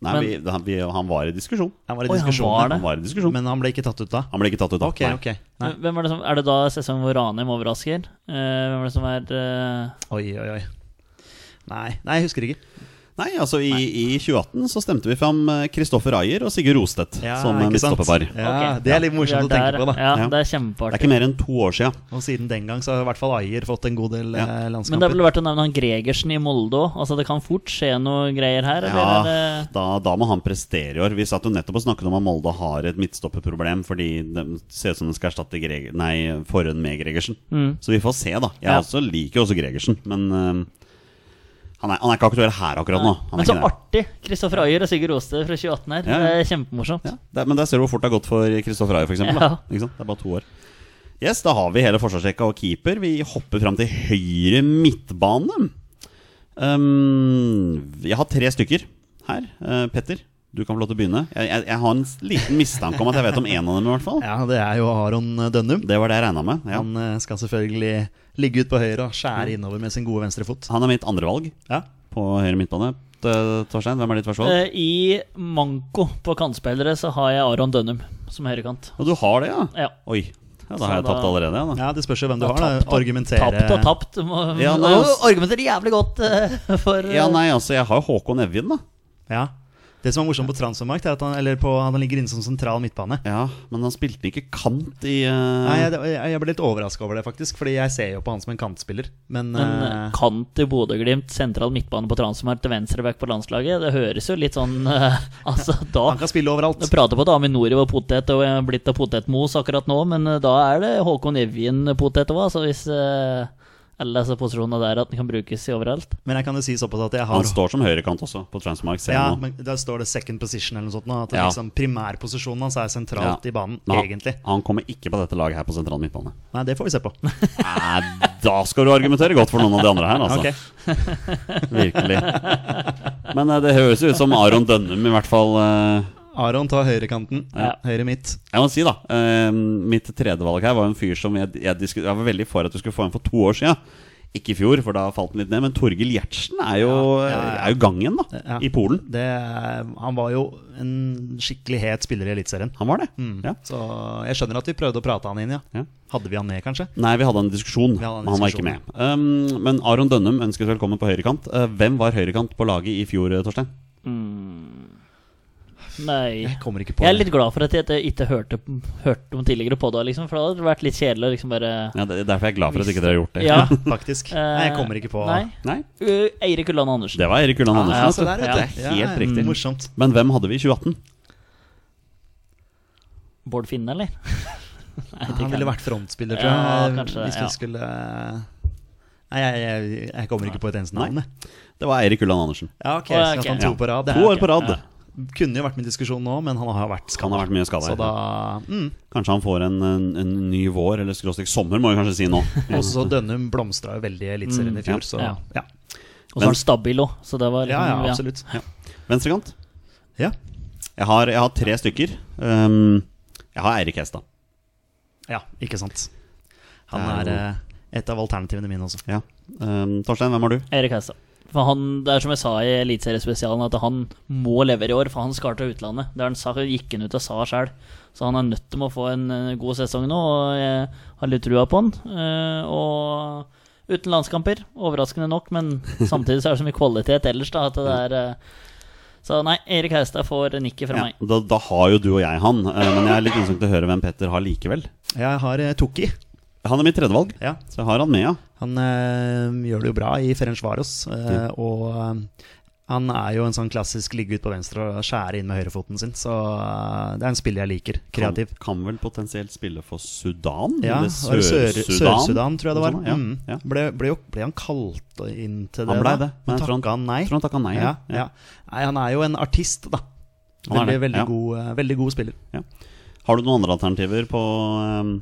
Speaker 1: Nei,
Speaker 2: Men-
Speaker 1: vi, han, vi, han var i diskusjon.
Speaker 3: Han var i
Speaker 2: Oi, han
Speaker 3: diskusjon,
Speaker 2: var det.
Speaker 1: Han var i diskusjon.
Speaker 3: men han ble ikke tatt ut da.
Speaker 1: han ble ikke tatt ut, da.
Speaker 3: Ok,
Speaker 1: Nei.
Speaker 3: ok. Nei.
Speaker 2: Hvem er, det som, er det da sesongen hvor Ranheim overrasker? Eh, hvem er det som er eh,
Speaker 3: Oi, oi, oi. Nei, nei, jeg husker ikke.
Speaker 1: Nei, altså i, i 2018 så stemte vi fram eh, Kristoffer Ayer og Sigurd Rostedt
Speaker 3: Ja,
Speaker 1: som eh,
Speaker 3: ikke sant?
Speaker 1: midtstopperpar.
Speaker 3: Ja,
Speaker 2: Ok.
Speaker 3: Det er litt
Speaker 2: vi er
Speaker 1: sånn
Speaker 3: morsomt å
Speaker 2: der-
Speaker 3: tenke på, da.
Speaker 2: Ja,
Speaker 1: Ja.
Speaker 2: det er
Speaker 1: Det er
Speaker 2: kjempeartig.
Speaker 1: ikke mer enn to år sia.
Speaker 3: Og siden den gang så har i hvert fall Ayer fått en god del
Speaker 1: Ja.
Speaker 3: eh,
Speaker 2: Men det er
Speaker 3: landskamper.
Speaker 2: vel verdt å nevne han Gregersen i Molde òg. Altså, det kan fort skje noe greier her, eller?
Speaker 1: Ja,
Speaker 2: er det-
Speaker 1: da, da må han prestere i år. Vi satt jo nettopp og snakket om at Molde har et midtstopperproblem fordi det ser ut som de skal erstatte Greg, nei, Forhund med Gregersen. Så vi får se, da. Jeg
Speaker 2: Mm. Ja.
Speaker 1: også liker jo også Gregersen, men eh, han, er, han er ikke aktuell her akkurat nå. Han
Speaker 2: Men
Speaker 1: er
Speaker 2: så
Speaker 1: ikke det.
Speaker 2: artig! Kristoffer Ayer og Sigurd Aaste fra 2018 her.
Speaker 1: Ja, ja.
Speaker 2: Det er kjempemorsomt.
Speaker 1: Ja, det, men der ser du hvor fort det har gått for Kristoffer Ayer, f.eks. eksempel da.
Speaker 2: Ja.
Speaker 1: Ikke sant? Det er bare to år. Yes, Da har vi hele forsvarsrekka og keeper. Vi hopper fram til høyre midtbane. Um, jeg har tre stykker her. Eh, Petter, du kan få lov til å begynne. Jeg, jeg, jeg har en s- liten mistanke om at jeg vet om én av dem, i hvert fall.
Speaker 3: Ja, det er jo Aron eh, Dønnum.
Speaker 1: Det var det jeg regna med. Ja.
Speaker 3: Han eh, skal selvfølgelig ligge ut på høyre og skjære
Speaker 2: Mm.
Speaker 3: innover med sin gode venstre fot.
Speaker 1: Han er mitt andrevalg
Speaker 3: Ja.
Speaker 1: på høyre midtbane. T- Torstein, hvem er ditt førstevalg?
Speaker 2: Eh, I manko på kantspillere så har jeg Aron Dønnum som høyrekant.
Speaker 1: Og du har det, ja?
Speaker 2: Ja.
Speaker 1: Oi. Ja, da
Speaker 2: Så
Speaker 1: har jeg
Speaker 2: da-
Speaker 1: tapt allerede. Ja, da.
Speaker 3: Ja, Det spørs jo hvem du
Speaker 2: Ja,
Speaker 3: har. da,
Speaker 2: tapt og-
Speaker 3: Argumentere
Speaker 2: Tapt og tapt. Du Må,
Speaker 1: Ja,
Speaker 2: må
Speaker 1: nei,
Speaker 2: jo
Speaker 1: ass.
Speaker 2: argumentere jævlig godt eh, for eh,
Speaker 1: ja, nei, altså, jeg har Håkon Evjen, da.
Speaker 3: Ja. Det som er morsomt på transfermarkt, er at han, eller på, han ligger inne som sentral midtbane.
Speaker 1: Ja, Men han spilte ikke kant i eh,
Speaker 3: Nei, jeg, jeg jeg ble litt overraska over det, faktisk. Fordi jeg ser jo på han som en kantspiller. Men,
Speaker 2: Men eh,
Speaker 3: eh,
Speaker 2: kant i Bodø-Glimt, sentral midtbane på Transmark til venstreback på landslaget, det høres jo litt sånn eh, Altså, da
Speaker 3: han kan spille overalt.
Speaker 2: Du prater på at Aminori var potet og jeg er blitt av potetmos akkurat nå, men eh, da er det Håkon Evjen potet òg, altså hvis eh, alle disse posisjonene der at den kan brukes i overalt.
Speaker 3: Men jeg kan jo si såpass at jeg
Speaker 1: Han
Speaker 3: har
Speaker 1: står som høyrekant også, på Transmark. ser jeg
Speaker 3: ja,
Speaker 1: nå.
Speaker 3: men Der står det 'second position' eller noe sånt. nå, At det
Speaker 1: Ja.
Speaker 3: liksom primærposisjonen hans er sentralt
Speaker 1: Ja.
Speaker 3: i banen,
Speaker 1: Men han,
Speaker 3: egentlig.
Speaker 1: Han kommer ikke på dette laget her på sentral midtbane.
Speaker 3: Nei, det får vi se på.
Speaker 1: Nei, da skal du argumentere godt for noen av de andre her, altså.
Speaker 3: Ok.
Speaker 1: Virkelig. Men eh, det høres jo ut som Aron Dønnum i hvert fall eh,
Speaker 3: Aron tar høyrekanten.
Speaker 2: Ja.
Speaker 3: Høyre midt.
Speaker 1: Jeg må si da, eh, mitt tredje valg her var en fyr som jeg, jeg, disku- jeg var veldig for at du skulle få en for to år siden. Ikke i fjor, for da falt den litt ned. Men Torgil Gjertsen er jo, er jo gang igjen, da.
Speaker 3: Ja.
Speaker 1: I Polen.
Speaker 3: Det, er- han var jo en skikkelig het spiller i Eliteserien. Mm.
Speaker 1: Han var det. Ja.
Speaker 3: Så jeg skjønner at vi prøvde å prate han inn, ja.
Speaker 1: Ja.
Speaker 3: Hadde vi han ned, kanskje?
Speaker 1: Nei, vi hadde en diskusjon,
Speaker 3: Vi hadde en
Speaker 1: men han var ikke med.
Speaker 3: diskusjon.
Speaker 1: Um, men Aron Dønnum ønskes velkommen på høyrekant. Eh, hvem var høyrekant på laget i fjor, eh, Torstein? Mm.
Speaker 2: Nei.
Speaker 3: Jeg kommer ikke på
Speaker 2: Jeg er
Speaker 3: det.
Speaker 2: litt glad for at jeg ikke- ikke hørte, hørte om tidligere på det, liksom, for det hadde vært litt kjedelig å liksom bare
Speaker 1: Ja, det, derfor er jeg glad for at ikke dere har gjort det.
Speaker 2: Ja.
Speaker 3: Faktisk. Nei, jeg kommer ikke på
Speaker 2: Nei.
Speaker 1: Nei,
Speaker 2: Uh, Eirik Ulland Andersen.
Speaker 1: det var Erik Ulland Andersen.
Speaker 2: ja,
Speaker 1: altså.
Speaker 3: så der, vet
Speaker 1: det
Speaker 3: du.
Speaker 1: er helt
Speaker 3: Ja, Mm.
Speaker 1: riktig.
Speaker 3: Morsomt.
Speaker 1: Men hvem hadde vi i 2018?
Speaker 2: Bård Finne, eller? Nei, det
Speaker 3: Han
Speaker 2: kan-
Speaker 3: ville vært frontspiller, tror
Speaker 2: Ja,
Speaker 3: jeg.
Speaker 2: kanskje det,
Speaker 3: Hvis vi
Speaker 2: ja.
Speaker 3: skulle eh, Nei, jeg, jeg, jeg kommer ikke på et eneste navn, jeg.
Speaker 1: Det var Eirik Ulland Andersen.
Speaker 3: Ja, ok,
Speaker 2: Å, ja,
Speaker 3: så
Speaker 2: ok.
Speaker 3: han to
Speaker 1: Ja.
Speaker 3: på rad. Det
Speaker 1: To
Speaker 3: er-
Speaker 1: år på rad.
Speaker 3: Kunne jo vært med i diskusjon nå, men han har jo vært
Speaker 1: Kan ha
Speaker 3: skada.
Speaker 1: vært mye skada.
Speaker 3: Så da mm.
Speaker 1: Kanskje han får en, en, en ny vår, eller skråstrek sommer, må vi kanskje si nå.
Speaker 3: Også så Dønnum blomstra jo veldig i Eliteserien i fjor, så
Speaker 2: ja.
Speaker 3: ja.
Speaker 2: Og så er han stabil òg, så det var
Speaker 3: Ja, ja,
Speaker 2: liksom-
Speaker 3: absolutt. Ja.
Speaker 1: Venstrekant.
Speaker 3: Ja.
Speaker 1: Jeg har, jeg har tre stykker. Um, jeg har Eirik Hestad.
Speaker 3: ikke sant. Han
Speaker 1: Det
Speaker 3: er
Speaker 1: er jo-
Speaker 3: eh, et av alternativene mine også.
Speaker 1: Ja. Um, Torstein, hvem har du?
Speaker 2: Erik Hestad. For han, det er som jeg sa i Eliteseriespesialen, at han må levere i år, for han skal til utlandet. Det har han sa, gikk han ut og sa sjøl. Så han er nødt til å få en eh, god sesong nå, og jeg har litt trua på han. Eh, og uten landskamper, overraskende nok, men samtidig så er det så mye kvalitet ellers, da, at det er eh, Så nei, Erik Hestad får nikket fra
Speaker 1: Ja,
Speaker 2: meg.
Speaker 1: da, da har jo du og jeg han, eh, men jeg er litt interessant til å høre hvem Petter har likevel.
Speaker 3: Jeg har eh, Toki.
Speaker 1: Han er mitt tredjevalg,
Speaker 3: Ja.
Speaker 1: så jeg har han med, ja.
Speaker 3: Han eh, gjør det jo bra i Ferencvaros, eh, og eh, han er jo en sånn klassisk ligge ut på venstre og skjære inn med høyrefoten sin, så eh, det er en spiller jeg liker. Kreativ.
Speaker 1: Kan, kan vel potensielt spille for Sudan?
Speaker 3: Ja,
Speaker 1: eller
Speaker 3: var det Sør-
Speaker 1: Sør-Sudan?
Speaker 3: Sør-Sudan, tror jeg det var.
Speaker 1: Noe sånt, ja,
Speaker 3: Mm.
Speaker 1: ja.
Speaker 3: Ble, ble, jo, ble han kalt inn til det?
Speaker 1: Han ble
Speaker 3: da?
Speaker 1: det, men jeg tror han-
Speaker 3: takka han nei?
Speaker 1: tror han takka nei,
Speaker 3: Ja,
Speaker 1: ja.
Speaker 3: ja. nei. Han er jo en artist, da.
Speaker 1: Han
Speaker 3: Veldig,
Speaker 1: er det,
Speaker 3: veldig,
Speaker 1: ja.
Speaker 3: god, eh, veldig god spiller.
Speaker 1: Har du noen andre alternativer på, um,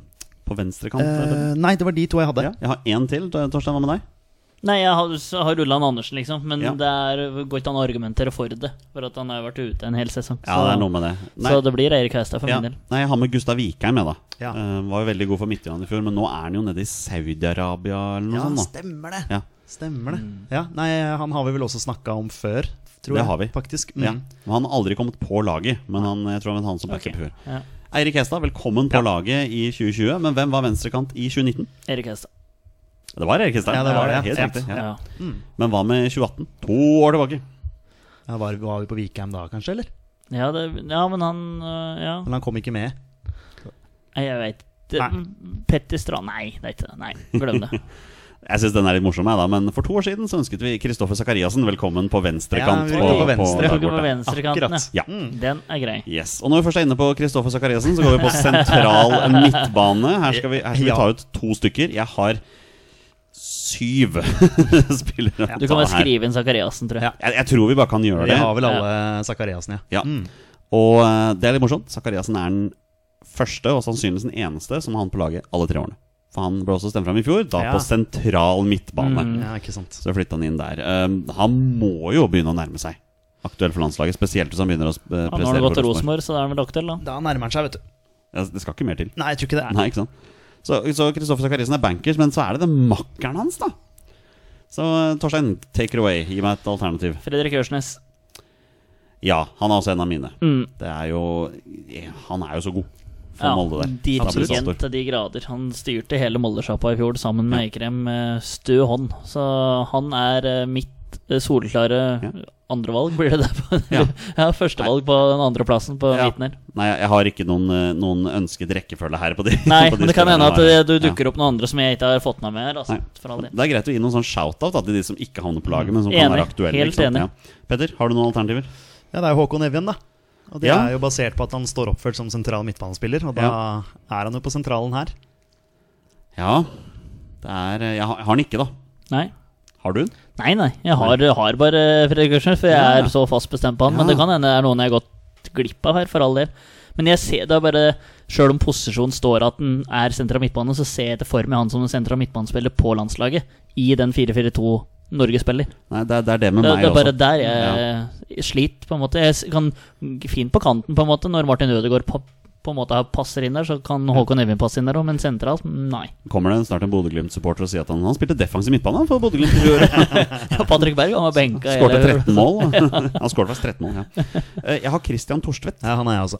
Speaker 1: på venstre kant?
Speaker 3: Eh,
Speaker 1: Petter?
Speaker 3: nei, det var de to jeg hadde.
Speaker 1: ja, jeg har én til. Torstein, hva med deg?
Speaker 2: Nei, jeg har, så har Ulland Andersen, liksom, men
Speaker 1: Ja.
Speaker 2: det er, går ikke an å argumentere for det. For at han har vært ute en hel sesong.
Speaker 1: Ja, det er noe med det. Nei,
Speaker 2: så det blir Eirik Hestad for
Speaker 1: ja.
Speaker 2: min del.
Speaker 1: Nei, jeg har med Gustav Vikheim, jeg, da.
Speaker 3: Ja.
Speaker 1: Eh, var jo veldig god for Midtjylland i fjor, men nå er han jo nede i Saudi-Arabia eller noe
Speaker 3: Ja,
Speaker 1: sånt. da
Speaker 3: stemmer det. Mm.
Speaker 1: Ja.
Speaker 3: Stemmer det. Ja, nei, han har vi vel også snakka om før, tror
Speaker 1: Det
Speaker 3: jeg.
Speaker 1: har vi.
Speaker 3: Faktisk. Mm.
Speaker 1: Ja. Men Han har aldri kommet på laget, men han, jeg tror han var han som backup i fjor.
Speaker 2: Ja.
Speaker 1: Eirik Hestad, velkommen på laget i 2020. Men hvem var venstrekant i 2019?
Speaker 2: Erik Hestad.
Speaker 1: Det var Erik Hestad.
Speaker 3: Ja, det var det, ja.
Speaker 1: Helt
Speaker 3: Ja.
Speaker 1: riktig. Ja.
Speaker 2: Ja.
Speaker 1: Men hva med 2018? To år tilbake.
Speaker 3: Ja, var, var vi på Vikheim da, kanskje? eller?
Speaker 2: Ja, det, ja, men han øh, Ja,
Speaker 3: Men han kom ikke med.
Speaker 2: Nei, jeg veit.
Speaker 3: Nei.
Speaker 2: Petter Strand Nei, det er ikke det. Nei, glem det.
Speaker 1: Jeg syns den er litt morsom, jeg, da. Men for to år siden så ønsket vi Kristoffer Sakariassen velkommen på venstrekant.
Speaker 3: Ja, vi tok på venstre. Mm.
Speaker 1: der
Speaker 2: Tok den på
Speaker 1: borte.
Speaker 2: venstrekanten,
Speaker 3: Akkurat.
Speaker 1: Ja.
Speaker 2: Den er grei.
Speaker 1: Yes, og Når vi først er inne på Kristoffer Sakariassen, så går vi på sentral midtbane. Her skal vi, her skal vi
Speaker 3: Ja.
Speaker 1: ta ut to stykker. Jeg har syv spillere. å
Speaker 2: Du
Speaker 1: ta
Speaker 2: kan vel
Speaker 1: her.
Speaker 2: skrive inn Sakariassen, tror jeg.
Speaker 1: Jeg, jeg tror vi bare kan gjøre
Speaker 3: Vi
Speaker 1: det.
Speaker 3: har vel alle Sakariassen, ja. Mm.
Speaker 1: Ja. Og eh, det er litt morsomt. Sakariassen er den første, og sannsynligvis den eneste, som har han på laget alle tre årene. For han ble også stemt fram i fjor, da
Speaker 3: Ja.
Speaker 1: på sentral midtbane.
Speaker 2: Mm,
Speaker 3: Ja, ikke sant.
Speaker 1: Så flytta han inn der. Eh, han må jo begynne å nærme seg aktuell for landslaget, spesielt hvis han begynner å eh, prestere.
Speaker 2: Han har nå
Speaker 1: for
Speaker 2: gått til
Speaker 1: Rosenborg.
Speaker 2: Rosenborg, så da er han vel aktuell, da.
Speaker 3: Da nærmer han seg, vet du.
Speaker 1: Ja, Det skal ikke mer til.
Speaker 3: Nei, jeg tror ikke det. er
Speaker 1: Nei, ikke sant? Så så Kristoffer Sakarisen er bankers, men så er det den makkeren hans, da. Så eh, Torstein, take it away. Gi meg et alternativ.
Speaker 2: Fredrik Ørsnes.
Speaker 1: Ja, han er også en av mine.
Speaker 2: Mm.
Speaker 1: Det er jo eh, Han er jo så god for
Speaker 2: Ja,
Speaker 1: Molde der.
Speaker 2: dirigent
Speaker 1: Stabilisator.
Speaker 2: til de grader. Han styrte hele Moldesjappa i fjor sammen med Eikrem med stø hånd. Så han er eh, mitt eh, soleklare
Speaker 1: Ja.
Speaker 2: andrevalg, blir det det? på-
Speaker 1: Ja.
Speaker 2: ja, førstevalg på den andreplassen på
Speaker 1: Ja.
Speaker 2: midten her.
Speaker 1: Nei, jeg har ikke noen, eh, noen ønsket rekkefølge her. på de
Speaker 2: Nei,
Speaker 1: på de
Speaker 2: men det kan
Speaker 1: spillerne
Speaker 2: hende at
Speaker 1: der.
Speaker 2: det- du
Speaker 1: Ja.
Speaker 2: dukker opp noen andre som jeg ikke har fått med meg her. Altså,
Speaker 1: Nei.
Speaker 2: for all del.
Speaker 1: Det er greit å gi noen sånn shout-out da, til de som ikke havner på laget, men som kan
Speaker 2: Enig.
Speaker 1: være aktuelle.
Speaker 2: Helt
Speaker 1: ikke sant?
Speaker 2: enig.
Speaker 1: Ja. Petter, har du noen alternativer?
Speaker 3: Ja, det er jo Håkon Evjen, da. Og det
Speaker 1: Ja.
Speaker 3: er jo basert på at han står oppført som sentral midtbanespiller, og da
Speaker 1: Ja.
Speaker 3: er han jo på sentralen her.
Speaker 1: Ja. Det er, eh, jeg har jeg har den ikke, da.
Speaker 2: Nei.
Speaker 1: Har du den?
Speaker 2: Nei, nei. Jeg har, har bare Fredrik Ørsnes, for jeg
Speaker 1: Ja.
Speaker 2: er så fast bestemt på han. Men
Speaker 1: Ja.
Speaker 2: det kan hende det er noen jeg har gått glipp av her, for all del. Men jeg ser det er bare Sjøl om posisjonen står at han er sentra midtbane, så ser jeg etter for meg han som en sentra midtbanespiller på landslaget i den 4-4-2. Norge spiller.
Speaker 1: Nei, det, er- det er det med
Speaker 2: Det,
Speaker 1: meg
Speaker 2: det er bare
Speaker 1: også.
Speaker 2: der jeg sliter, på en måte. Jeg s- kan g- fint på kanten, på en måte. Når Martin Ødegaard pa- på en måte har- passer inn der, så kan Håkon Evjen passe inn der òg, men sentralt, nei.
Speaker 1: Kommer det snart en Bodø-Glimt-supporter og sier at han, han spilte defensiv midtbane han, for Bodø-Glimt? i fjor.
Speaker 2: Ja, Patrick Berg han var benka.
Speaker 1: Skårte
Speaker 2: hele-
Speaker 1: 13 mål. Han skårte faktisk 13 mål, ja. Eh, Jeg har Christian Torstvedt.
Speaker 3: Ja, han er jeg også.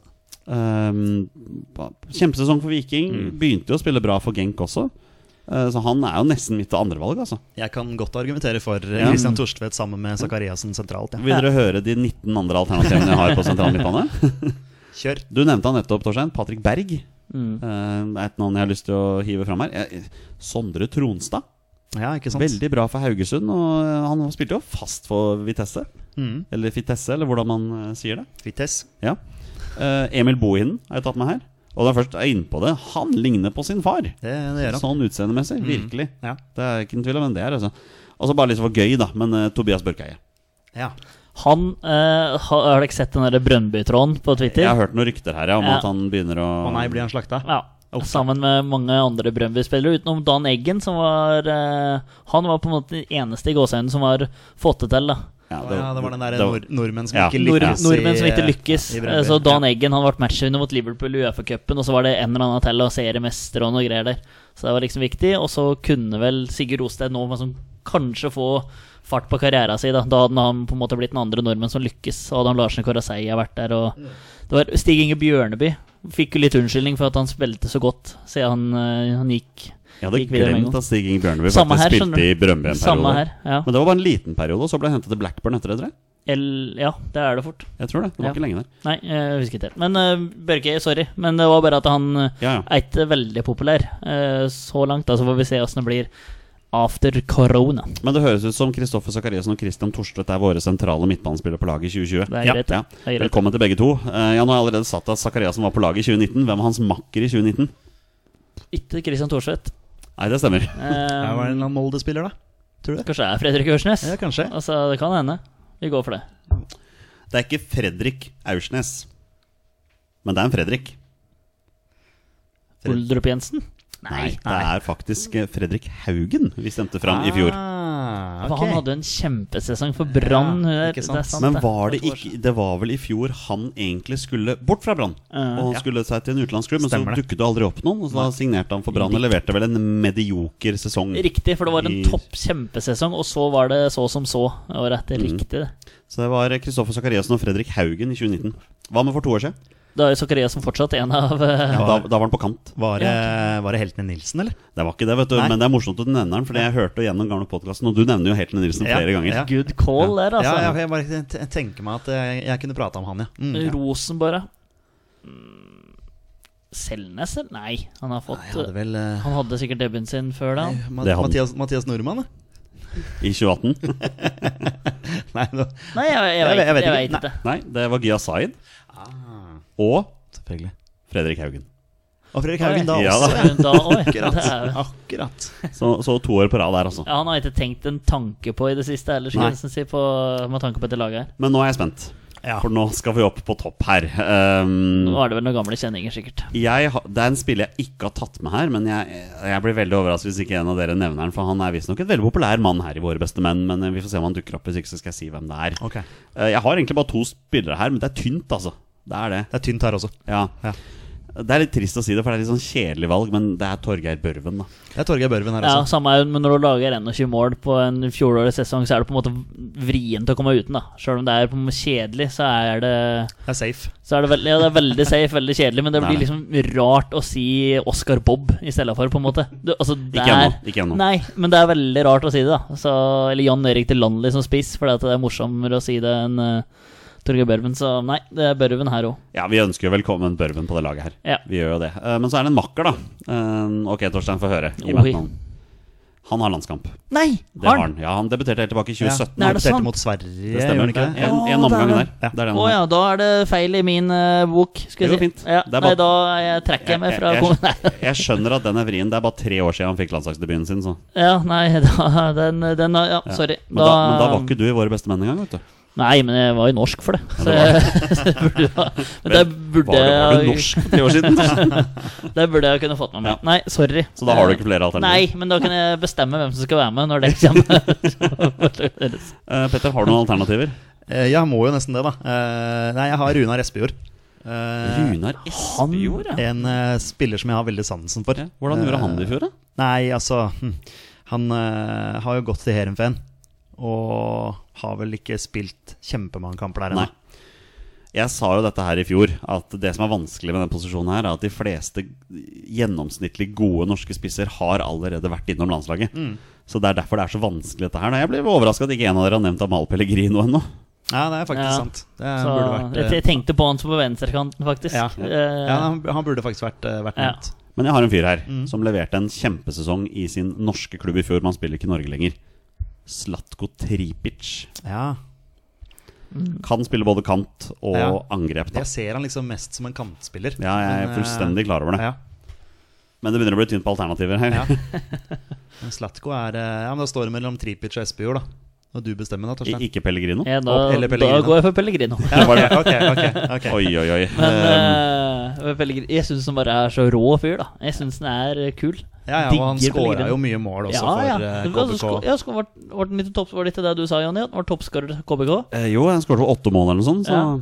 Speaker 1: Ehm, ba- kjempesesong for Viking. Begynte jo å spille bra for Genk også. Eh, så han er jo nesten mitt andrevalg, altså.
Speaker 3: Jeg kan godt argumentere for eh, Christian Torstvedt sammen med Zakariassen sentralt. Ja.
Speaker 1: Vil dere høre de 19 andre alternativene jeg har på sentral midtbane?
Speaker 3: Kjør.
Speaker 1: Du nevnte han nettopp, Torstein. Patrick Berg.
Speaker 2: Mm.
Speaker 1: Eh, Det er et navn jeg har lyst til å hive fram her. Jeg- Sondre Tronstad.
Speaker 3: Ja, ikke sant?
Speaker 1: Veldig bra for Haugesund. Og eh, han spilte jo fast for Vitesse.
Speaker 3: Mm.
Speaker 1: Eller Fitesse, eller hvordan man eh, sier det.
Speaker 3: Vitesse.
Speaker 1: Ja. Eh, Emil Bohinen har jeg tatt med her. Og da jeg først er inne på det, han ligner på sin far.
Speaker 3: Det, det gjør han.
Speaker 1: Sånn utseendemessig. Virkelig.
Speaker 3: Ja.
Speaker 1: Det er ikke noen tvil om hvem det er. Altså. Og så bare liksom for gøy, da. Men eh, Tobias Børkeie.
Speaker 3: Ja.
Speaker 2: Han eh, har, har dere sett den derre Brønnby-tråden på Twitter?
Speaker 1: Jeg har hørt noen rykter her ja, om
Speaker 2: Ja.
Speaker 1: at han begynner å
Speaker 3: Å nei, blir han slakta?
Speaker 2: Ja. Sammen med mange andre Brøndby-spillere, utenom Dan Eggen, som var eh, Han var på en måte den eneste i gåseøynene som var fått det til, da.
Speaker 1: ja,
Speaker 3: Å ja, det var den der
Speaker 1: det var-
Speaker 3: nord nordmenn som
Speaker 1: Ja.
Speaker 3: ikke
Speaker 2: Nord
Speaker 3: lykkes. i-
Speaker 2: nordmenn som ikke lykkes.
Speaker 3: i Brøndby.
Speaker 2: Eh, så Dan Eggen han ble matchvinner mot Liverpool i Uefa-cupen, og så var det en eller annen til og seriemester og noe greier der. Så det var liksom viktig. Og så kunne vel Sigurd Osted nå liksom kanskje få fart på karrieren sin. Da. da hadde han på en måte blitt den andre nordmenn som lykkes. Og hadde han Larsen Koraseia vært der, og det var Stig Inge Bjørneby fikk jo litt unnskyldning for at han spilte så godt siden han, eh, han gikk.
Speaker 1: Jeg hadde
Speaker 2: gikk videre med en
Speaker 1: glemt at Stig Inge Bjørneby
Speaker 2: Samme
Speaker 1: faktisk
Speaker 2: her, skjønner
Speaker 1: spilte i Brøndby en
Speaker 2: Samme
Speaker 1: periode.
Speaker 2: her. Ja.
Speaker 1: Men det var bare en liten periode, og så ble han henta til Blackburn etter det, tror jeg.
Speaker 2: El, ja, det er det fort.
Speaker 1: Jeg tror det. Det var
Speaker 2: Ja.
Speaker 1: ikke lenge der.
Speaker 2: Nei, eh, jeg husker ikke helt. Men eh, Børke, sorry. Men det var bare at han eh,
Speaker 1: Ja, ja.
Speaker 2: er ikke veldig populær eh, så langt. Da, så får vi se åssen det blir after corona.
Speaker 1: Men det høres ut som Kristoffer Sakariassen og Christian Torstvedt er våre sentrale midtbanespillere på laget i 2020.
Speaker 2: Det er greit,
Speaker 1: ja.
Speaker 2: det er greit.
Speaker 1: Velkommen til begge to. Eh, ja, nå har jeg allerede satt at Sakariassen var på laget i 2019. Hvem var hans makker i 2019?
Speaker 2: Ikke Christian Thorsvedt.
Speaker 1: Nei, det stemmer.
Speaker 2: Eh,
Speaker 3: Ja, var det en eller annen Molde-spiller, da? Tror du det?
Speaker 2: kanskje det er Fredrik Ørsnes?
Speaker 3: Ja, kanskje.
Speaker 2: Altså, det kan hende. Vi går for det.
Speaker 1: Det er ikke Fredrik Aursnes. Men det er en Fredrik.
Speaker 3: Fred-
Speaker 2: Uldrup Jensen? Nei.
Speaker 1: det er faktisk eh, Fredrik Haugen vi stemte fram i fjor.
Speaker 3: Ah,
Speaker 2: For
Speaker 3: ok.
Speaker 2: Han hadde en kjempesesong for Brann.
Speaker 3: Ja,
Speaker 2: det er-
Speaker 3: ikke sant.
Speaker 2: det er sant,
Speaker 1: Men
Speaker 2: det.
Speaker 1: var det
Speaker 2: For to år
Speaker 1: ikke Det var vel i fjor han egentlig skulle bort fra Brann? Og han skulle seg til en utenlandsklubb, men så
Speaker 3: Eh, Stemmer det.
Speaker 1: dukket det aldri opp noen. Og så da signerte han for Brann og leverte vel en medioker sesong.
Speaker 2: Riktig, for det var en
Speaker 1: I-
Speaker 2: topp kjempesesong, og så var det så som så året etter.
Speaker 3: Mm.
Speaker 2: Riktig, det.
Speaker 1: Så det var eh, Kristoffer Sakariassen og Fredrik Haugen i 2019. Hva med for to år siden?
Speaker 2: Da er jo Sakariassen fortsatt en av eh,
Speaker 1: Da, da var han på kant.
Speaker 3: Var det, var det Heltene Nilsen, eller?
Speaker 1: Det var ikke det, vet du.
Speaker 3: Nei.
Speaker 1: Men det er morsomt at du nevner han, for jeg hørte gjennom den gamle podkasten, og du nevner jo Heltene Nilsen
Speaker 3: Ja,
Speaker 1: flere ganger.
Speaker 3: ja.
Speaker 2: Good call der, altså.
Speaker 3: Ja, jeg, jeg bare t- tenker meg at eh, jeg, jeg kunne prata om han, ja. Mm.
Speaker 2: Rosenborg, da? Mm, Selnes, eller? Nei, han har fått
Speaker 3: Jeg hadde vel eh,
Speaker 2: Han hadde sikkert debuten sin før da. han.
Speaker 3: Ma-
Speaker 1: Det hadde-
Speaker 3: Mathias, Mathias Nordmann, da?
Speaker 1: I 2018.
Speaker 3: Nei, nå-
Speaker 2: Nei, jeg, jeg,
Speaker 3: Jeg
Speaker 2: vet,
Speaker 3: vet- jeg vet
Speaker 2: jeg
Speaker 3: ikke.
Speaker 2: vet ikke.
Speaker 1: Nei, det var Gia Zaid.
Speaker 3: Ah.
Speaker 1: Og
Speaker 3: selvfølgelig.
Speaker 1: Fredrik Haugen.
Speaker 3: Og Fredrik Haugen da
Speaker 1: Ja,
Speaker 3: også.
Speaker 2: Så hun Da, oi, det er,
Speaker 3: Akkurat. Akkurat.
Speaker 1: Så, så to år på rad der, altså.
Speaker 2: ja, han har ikke tenkt en tanke på i det siste, ellers
Speaker 1: Nei.
Speaker 2: kan jeg nesten si, på, med tanke på dette laget her.
Speaker 1: Men nå er jeg spent,
Speaker 3: Ja.
Speaker 1: for nå skal vi opp på topp her. Um,
Speaker 3: Mm.
Speaker 2: Nå er det vel noen gamle kjenninger, sikkert.
Speaker 1: jeg, har- det er en spiller jeg ikke har tatt med her, men jeg, jeg blir veldig overrasket hvis ikke en av dere nevner den, for han er visstnok en veldig populær mann her i Våre beste menn, men eh, vi får se om han dukker opp, hvis ikke så skal jeg si hvem det er.
Speaker 3: Ok.
Speaker 1: Eh, Jeg har egentlig bare to spillere her, men det er tynt, altså. Det er det.
Speaker 3: Det er tynt her også.
Speaker 1: Ja.
Speaker 3: Ja.
Speaker 1: Det er litt trist å si det, for det er litt sånn kjedelig valg, men det er Torgeir Børven, da.
Speaker 3: Det er Torgeir Børven her
Speaker 2: Ja,
Speaker 3: også.
Speaker 2: samme er det, men når du lager 21 mål på en fjorårets sesong, så er det på en måte vrient å komme uten, da. Sjøl om det er på en måte kjedelig, så er det
Speaker 3: Det er safe.
Speaker 2: Så er det, veldig, ja, det er veldig safe, veldig kjedelig, men det
Speaker 1: Nei.
Speaker 2: blir liksom rart å si Oscar Bob i stedet for, på en måte. Du, altså, det
Speaker 1: Ikke ennå,
Speaker 2: er-
Speaker 1: ikke ennå.
Speaker 2: Nei, men det er veldig rart å si det, da. Så, eller Jan Erik til Landli som spiss, for det er morsommere å si det enn uh, Torgeir Børven. Så nei, det er Børven her òg.
Speaker 1: Ja, vi ønsker jo velkommen Børven på det laget her.
Speaker 2: Ja.
Speaker 1: Vi gjør jo det. Eh, Men så er det en makker, da. Eh, Ok, Torstein, få høre. Gi
Speaker 2: Oi.
Speaker 1: meg et navn. Han har landskamp.
Speaker 2: Nei!
Speaker 1: Det har han. Ja, han debuterte helt tilbake i 2017.
Speaker 2: Nei, er det sånn.
Speaker 3: Han debuterte
Speaker 2: sant?
Speaker 3: mot Sverige,
Speaker 1: Det
Speaker 3: gjorde
Speaker 1: stemmer.
Speaker 3: han ikke
Speaker 1: En,
Speaker 3: det?
Speaker 1: en omgang der.
Speaker 3: Ja.
Speaker 1: Det er den
Speaker 2: Å
Speaker 1: han har.
Speaker 2: ja, da er det feil i min eh, bok.
Speaker 1: Det
Speaker 2: Skal jeg
Speaker 1: går
Speaker 2: si.
Speaker 1: fint.
Speaker 2: Ja,
Speaker 1: Det er bare-
Speaker 2: nei, da jeg trekker jeg meg fra
Speaker 1: jeg,
Speaker 2: kom- Nei,
Speaker 1: jeg, jeg skjønner at den er vrien. Det er bare tre år siden han fikk landslagsdebuten sin. Så.
Speaker 2: Ja, nei, da, den, den Ja, sorry.
Speaker 1: Men, da, men da var ikke du i Våre beste menn engang, vet du.
Speaker 2: Nei, men jeg var jo norsk for det. Så jeg burde jo ha Men der burde
Speaker 1: Var,
Speaker 2: jeg
Speaker 1: var du norsk for tre år siden?
Speaker 2: Der burde jeg kunne fått med meg. Nei, sorry.
Speaker 1: Så da har du ikke flere alternativer.
Speaker 2: Nei, men da kan jeg bestemme hvem som skal være med når det kommer.
Speaker 1: Eh, Petter, har du noen alternativer?
Speaker 3: Eh, Jeg må jo nesten det, da. Eh, Nei, jeg har Runar Espejord. Eh,
Speaker 1: Runar Espejord, ja.
Speaker 3: En eh, spiller som jeg har veldig sansen for.
Speaker 1: Ja, Hvordan gjorde han det i fjor, da?
Speaker 3: Nei, altså hm, Han eh, har jo gått til Heerenveen. Og har vel ikke spilt kjempemange kamper der ennå.
Speaker 1: Nei. Jeg sa jo dette her i fjor, at det som er vanskelig med den posisjonen her, er at de fleste gjennomsnittlig gode norske spisser har allerede vært innom landslaget.
Speaker 3: Mm.
Speaker 1: Så det er derfor det er så vanskelig dette her. Nei, Jeg ble overraska at ikke en av dere har nevnt Amal Pellegrino ennå.
Speaker 3: Ja, det er faktisk
Speaker 2: Ja.
Speaker 3: sant. Det
Speaker 2: Så
Speaker 3: burde vært,
Speaker 2: jeg,
Speaker 3: eh,
Speaker 2: jeg tenkte på han som på venstrekanten, faktisk.
Speaker 3: Ja.
Speaker 2: Eh,
Speaker 3: ja, han- han burde faktisk vært, eh, vært
Speaker 2: Ja.
Speaker 3: nevnt.
Speaker 1: Men jeg har en fyr her
Speaker 3: Mm.
Speaker 1: som leverte en kjempesesong i sin norske klubb i fjor. Man spiller ikke i Norge lenger. Slatko Tripic.
Speaker 3: Ja.
Speaker 1: Kan spille både kant og
Speaker 3: Ja.
Speaker 1: angrep. Da.
Speaker 3: Jeg ser han liksom mest som en kantspiller.
Speaker 1: Ja, jeg er
Speaker 3: men, eh,
Speaker 1: fullstendig klar over det.
Speaker 3: Ja.
Speaker 1: Men det begynner å bli tynt på alternativer her.
Speaker 3: Ja. Men Slatko er eh, Ja, men da står det mellom Tripic og Espejord, da. Og du bestemmer, da,
Speaker 1: I-
Speaker 3: Torstein.
Speaker 1: Ikke Pellegrino.
Speaker 2: ja, da,
Speaker 3: Og- eller
Speaker 2: da
Speaker 3: Pellegrino.
Speaker 2: går jeg for Pellegrino.
Speaker 3: Ja, ok, ok, ok, ok.
Speaker 1: Oi, oi, oi.
Speaker 3: Um,
Speaker 2: Men eh, Pellegrino Jeg syns han bare er så rå fyr, da. Jeg syns han er eh, kul.
Speaker 3: Ja, ja, og han
Speaker 2: digger
Speaker 3: skåra
Speaker 2: Pellegrino.
Speaker 3: jo mye mål også for eh,
Speaker 2: Du- altså, sko-
Speaker 3: KBK.
Speaker 2: ja, sko- var, var den litt topp, var det ikke det du sa, Jonny? At han var toppskårer KBK?
Speaker 1: Eh, jo, jeg skåret vel åtte mål eller noe sånt. Så
Speaker 2: Ja.